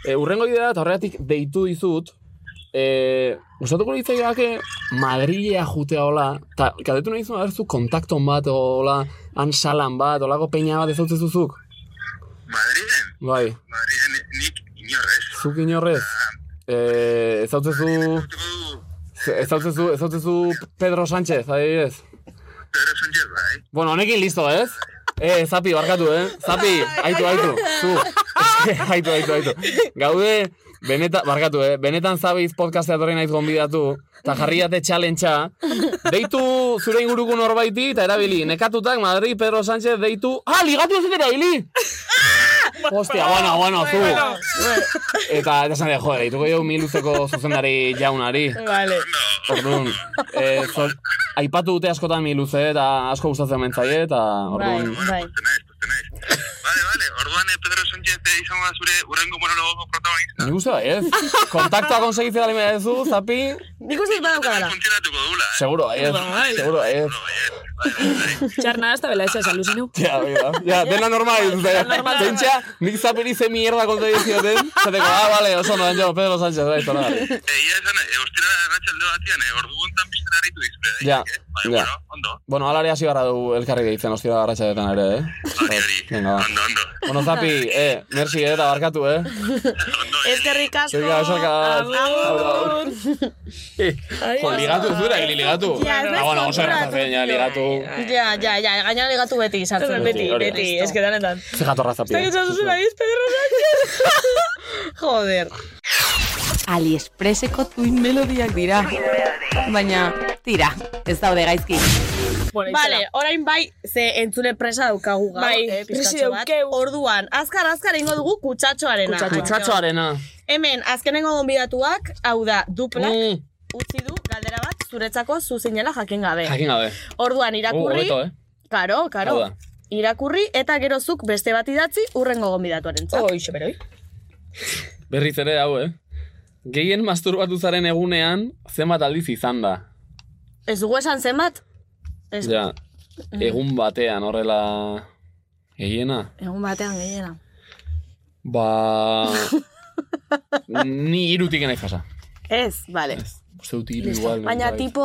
Speaker 1: E, urrengo idea da, eta horregatik deitu dizut, e, gustatuko litzaidake Madrilea jutea hola, eta kadetu nahi zuen, abertzu kontakton bat, hola, han salan bat, holako peina bat ezautze zuzuk. Madrilen? Bai.
Speaker 18: Madrilen nik inorrez.
Speaker 1: Zuk inorrez. E, ezautzezu... Ezautzezu, ezautzezu Pedro Sánchez, adibidez.
Speaker 18: Pedro Sánchez, bai.
Speaker 1: Bueno, honekin listo, ez? Eh, zapi, barkatu, eh? Zapi, aitu, aitu, zu. aitu, aitu, aitu. Gaude, beneta, barkatu, eh? Benetan zabiz podcastea torri naiz gonbidatu, eta jarri date txalentxa, deitu zure inguruko norbaiti, eta erabili, nekatutak Madrid, Pedro Sánchez, deitu... Ah, ligatu ez dira, hili! Hostia, bueno, bueno, zu. Eta eta zan jo, dituko jau miluzeko zuzendari jaunari.
Speaker 2: Vale.
Speaker 1: Orduan, eh, zor, aipatu dute askotan miluze eta asko gustatzen mentzaie eta orduan.
Speaker 2: bai.
Speaker 1: Ni gustu bai, ez? Kontaktua konsegitzea lima dezu, zapi,
Speaker 2: Nik uste dut badaukadala.
Speaker 1: seguro, ez.
Speaker 12: Bai.
Speaker 1: Seguro, ez.
Speaker 12: Txarna hasta bela esa alucinu.
Speaker 1: Ja, bai, da. ja, dena normal.
Speaker 12: normal.
Speaker 1: Zentxea, nik zapiri ze mierda konta dizioten, zateko, ah, vale, oso no, jo, Pedro Sánchez, da, izan, Ja, ja. Bueno, alare hasi barra du elkarri deitzen, ostira arratxadetan ere, eh? Hori, hori, ondo, ondo. Bueno, zapi, eh, merci, eh, eta barkatu, eh?
Speaker 2: Eskerrik asko.
Speaker 1: Zerika, esarka.
Speaker 2: Agur.
Speaker 1: Jo, ligatu zura, egin ligatu.
Speaker 2: Ja, ez
Speaker 1: Ah, bueno, oso
Speaker 2: konturatu,
Speaker 1: erratzen, ja, ligatu.
Speaker 2: Ja, ja, ja, gainera ligatu beti sartzen.
Speaker 1: Beti, Hori da.
Speaker 2: beti, eske danetan.
Speaker 1: Ze jatorra zapi. eh?
Speaker 2: Pedro Sánchez. Joder.
Speaker 8: AliExpresseko tuin melodiak dira. Baina, tira, ez daude gaizki.
Speaker 2: Vale, orain bai, ze entzule presa daukagu gaur,
Speaker 8: Bai,
Speaker 2: eh,
Speaker 8: presi
Speaker 2: pizkatxo bat. Orduan, azkar, azkar ingo dugu kutsatxoarena.
Speaker 1: Kutsatxoarena.
Speaker 2: Hemen, azkenengo gonbidatuak, hau da, duplak,
Speaker 1: Mm.
Speaker 2: utzi du, galdera bat, zuretzako zuzinela jakin gabe.
Speaker 1: Jakin gabe.
Speaker 2: Orduan, irakurri,
Speaker 1: hobeto, eh?
Speaker 2: karo,
Speaker 1: Hau
Speaker 2: karo,
Speaker 1: da.
Speaker 2: irakurri, eta gerozuk beste bat idatzi, urrengo gonbidatuaren zat. Oixe, beroi.
Speaker 1: Berriz ere hau, eh? Gehien masturbatu zaren egunean, zenbat aldiz izan da.
Speaker 2: Ez dugu esan zenbat? Ez,
Speaker 1: Ja,
Speaker 2: Mm.
Speaker 1: egun batean horrela... Gehiena?
Speaker 2: Egun batean gehiena.
Speaker 1: Ba... Ni irutik nahi jasa.
Speaker 2: Ez, vale.
Speaker 1: Uste dut hiru
Speaker 2: Listo.
Speaker 1: igual.
Speaker 2: Baina
Speaker 1: bai.
Speaker 2: tipo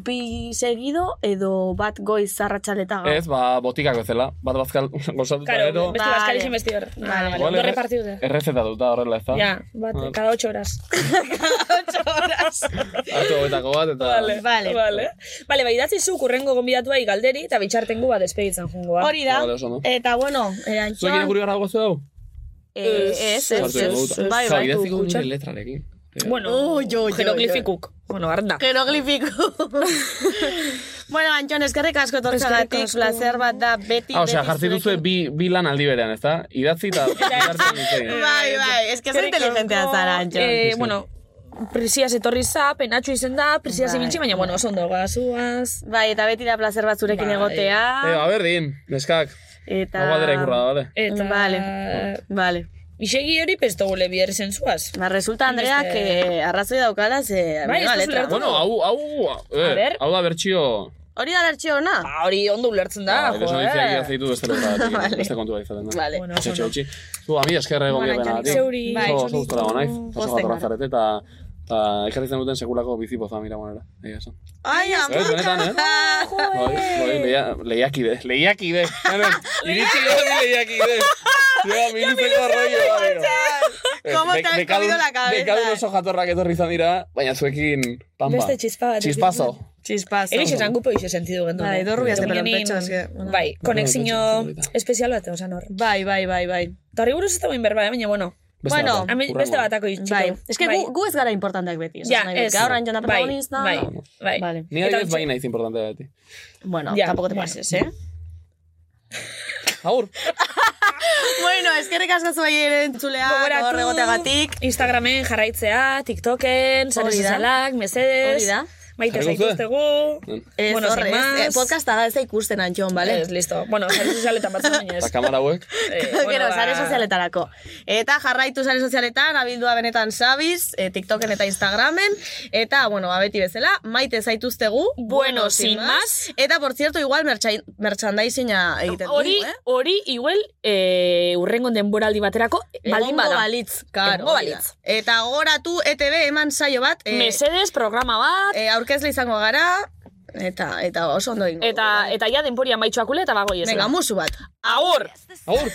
Speaker 2: bi segido edo bat goiz zarratxaleta gau.
Speaker 1: Ez, ba, botikako zela. Bat bazkal gozatuta gero.
Speaker 7: beste
Speaker 2: Vale.
Speaker 7: bazkari zen beste hor. Vale,
Speaker 1: Igual
Speaker 7: Dorre
Speaker 1: erre-
Speaker 7: partidu
Speaker 1: Errezeta duta horrela ez da.
Speaker 7: Ja, bat,
Speaker 1: Vale.
Speaker 7: cada 8 horas.
Speaker 1: Atu hauetako bat eta...
Speaker 7: Vale, vale. Vale, vale bai, idatzi zuk urrengo gonbidatuai galderi eta bitxartengu bat despeditzen ah. jungoa.
Speaker 2: Hori da.
Speaker 1: Vale, oso ondo.
Speaker 2: Eta bueno,
Speaker 1: Zuek
Speaker 2: erantzuan.
Speaker 1: irakurri gara gozu hau?
Speaker 2: Eh, Ez, ez,
Speaker 1: Sartu dugu
Speaker 2: ez.
Speaker 1: eta-
Speaker 2: Bai,
Speaker 1: Zau,
Speaker 2: bai,
Speaker 1: idatziko
Speaker 2: kutsa.
Speaker 1: nire letrarekin.
Speaker 7: Bueno,
Speaker 2: Oh, jo, jo,
Speaker 7: jeroglifikuk. Bueno, arda.
Speaker 2: Jeroglifiko. bueno, Antxon, eskerrik asko
Speaker 7: Eskerrik
Speaker 2: tortzagatik,
Speaker 7: asko.
Speaker 2: placer bat da beti,
Speaker 1: Ah, osea,
Speaker 2: beti
Speaker 1: jartzen duzue bi, bi lan aldi berean, ez da? Idatzi eta bitartean hitz egin.
Speaker 2: Bai, bai, ez que zo inteligentea zara, Antxon.
Speaker 7: Eh, bueno, Prisiaz etorri za, penatxu izen da, prisiaz ibiltzi, baina, bueno, oso ondo Bai. gazuaz.
Speaker 2: Bai, eta beti da placer bat zurekin egotea.
Speaker 1: Eh, ba, berdin, neskak.
Speaker 2: Eta...
Speaker 1: Hau badera ikurra, bale?
Speaker 7: Eta...
Speaker 2: Vale, vale.
Speaker 7: Isegi hori pesto gule bihar zentzuaz.
Speaker 2: Ba, resulta, Andrea,
Speaker 7: Beste-
Speaker 2: que arrazoi daukala, ze...
Speaker 7: Bai, ez
Speaker 2: ba,
Speaker 7: duzu
Speaker 2: letra.
Speaker 7: lertu.
Speaker 1: Bueno, hau, hau,
Speaker 7: A
Speaker 1: eh,
Speaker 7: ber.
Speaker 1: hau da bertxio...
Speaker 2: Hori da lertxe hona?
Speaker 7: Ah, Hori ondo ulertzen da,
Speaker 1: Eta
Speaker 7: jo,
Speaker 1: esan ditziak
Speaker 7: eh?
Speaker 1: idazitu beste letra,
Speaker 2: Ah, Vale.
Speaker 1: beste kontua izaten da.
Speaker 2: Vale. Bueno,
Speaker 1: Etxe, etxe, etxe. Zu, ami, eskerre egon
Speaker 2: Bueno,
Speaker 1: gero
Speaker 2: Antxonik, zeuri. Bai,
Speaker 1: Oso
Speaker 2: Antxonik.
Speaker 1: gustora gona, naiz.
Speaker 2: Pozten
Speaker 1: Oso gatorra
Speaker 2: gara.
Speaker 1: zarete eta... Eta ekarri zen duten sekulako bizipoza mira monera. Egia esan.
Speaker 2: Ai, ama!
Speaker 1: Ez, benetan, eh? Bai, bai, leia- lehiakide, lehiakide. Hemen, Iritsi gara ni lehiakide. Ja, miluzeko arroio da, gero.
Speaker 2: ¿Cómo
Speaker 1: Be-
Speaker 2: te has
Speaker 1: bekadun-
Speaker 2: comido la cabeza?
Speaker 1: Bekadun oso jatorrak etorri izan dira, baina zuekin pampa.
Speaker 7: Beste txispa bat.
Speaker 1: Txispazo.
Speaker 2: Chispazo.
Speaker 7: Egitxe esan gupo iso sentidu gendu.
Speaker 2: Bai, dorrubiaz de pelon pecho, es que, bueno.
Speaker 7: Bai, konexio espezial bat, osan hor.
Speaker 2: Bai, bai, bai, bai.
Speaker 7: Eta hurri buruz ez dagoen berba, eh, baina, bueno.
Speaker 1: Beste
Speaker 2: Bueno,
Speaker 1: bat da,
Speaker 7: Hemen
Speaker 1: hurrengoa.
Speaker 7: beste batako itxiko.
Speaker 2: Bai, es que gu, gu ez gara importanteak beti. esan
Speaker 7: Ja,
Speaker 2: nahi dut.
Speaker 7: ez.
Speaker 2: Gaur Antxon da
Speaker 7: Bai,
Speaker 2: protagonista.
Speaker 7: bai, bai.
Speaker 2: Vale.
Speaker 1: Ni ari ez baina izin importante beti.
Speaker 2: Bueno,
Speaker 1: Ja,
Speaker 2: tampoco te
Speaker 1: bueno.
Speaker 2: pases, eh?
Speaker 1: Aur.
Speaker 2: bueno, eskerrik asko zuei ere entzulea, gaur egoteagatik.
Speaker 7: Instagramen jarraitzea, TikToken, sare
Speaker 2: Hori da.
Speaker 7: sozialak, mesedes.
Speaker 2: Hori da.
Speaker 7: Maite
Speaker 1: Jarriko duzue?
Speaker 7: zaituztegu.
Speaker 1: Mm.
Speaker 2: Ez,
Speaker 7: Bueno,
Speaker 2: horre,
Speaker 7: sin
Speaker 2: ez,
Speaker 7: más.
Speaker 2: eh, podcasta da ez da ikusten Antxon, bale?
Speaker 7: Ez, listo. Bueno, sare sozialetan batzen baina ez.
Speaker 1: Eta kamara hauek.
Speaker 7: Eh, bueno,
Speaker 2: Gero,
Speaker 7: ba-
Speaker 2: sare sozialetarako. Eta jarraitu sare sozialetan, abildua benetan sabiz, eh, TikToken eta Instagramen, eta, bueno, abeti bezala, maite zaituztegu,
Speaker 12: Bueno, sin más.
Speaker 2: Eta, por cierto, igual merchai- merchandising-a egiten dugu,
Speaker 12: Hori,
Speaker 2: eh?
Speaker 12: hori, igual, eh, urrengo denboraldi baterako, baldin
Speaker 2: Egongo
Speaker 12: bada.
Speaker 2: balitz, karo.
Speaker 12: Egongo
Speaker 2: hori da.
Speaker 12: balitz.
Speaker 2: Eta goratu ETV eman saio bat.
Speaker 12: Mesedes, programa bat.
Speaker 2: E, aurkezle izango gara, eta, eta oso ondo ingo.
Speaker 12: Eta, eta ja denporia maitxoakule eta bagoi ez.
Speaker 2: Venga, musu bat.
Speaker 12: Agur!
Speaker 1: Agur!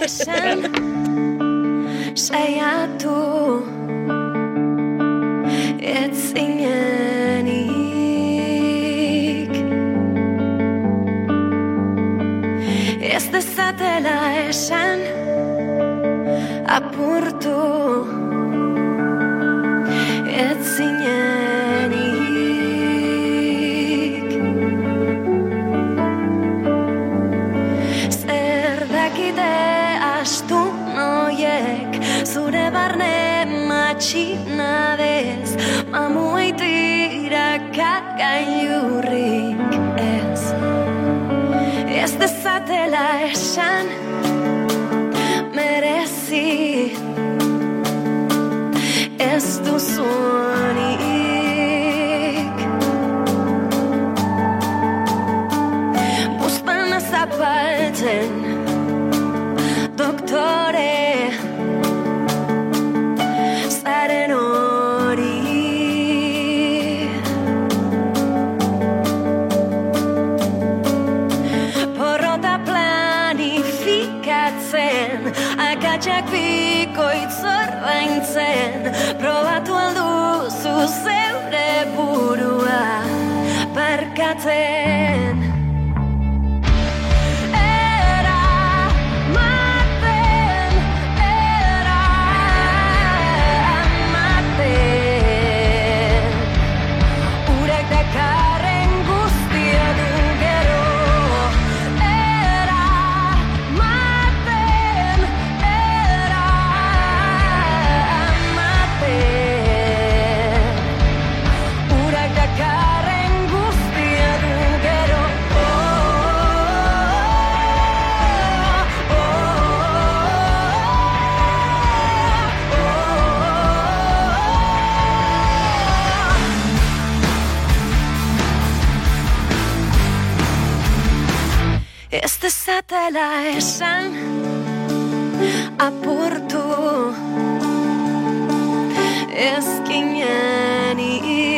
Speaker 13: esan saiatu ez zinenik ez dezatela esan apurtu ez zinenik zer dakite astu txina dez Mamuei tiraka gailurrik ez Ez dezatela esan merezi Ez duzunik Buzpana zapaltzen Doktore Zaren hori Porrota planifikatzen Akatsak bikoitzor baintzen Probatu alduzu zeure burua Barkatzen Eramaten, eramaten. Urak dakarren guztia du gero Eramaten, eramaten. Urak dakarren guztia du gero Ez dezatela Este esan Apurtu Ez ginenik este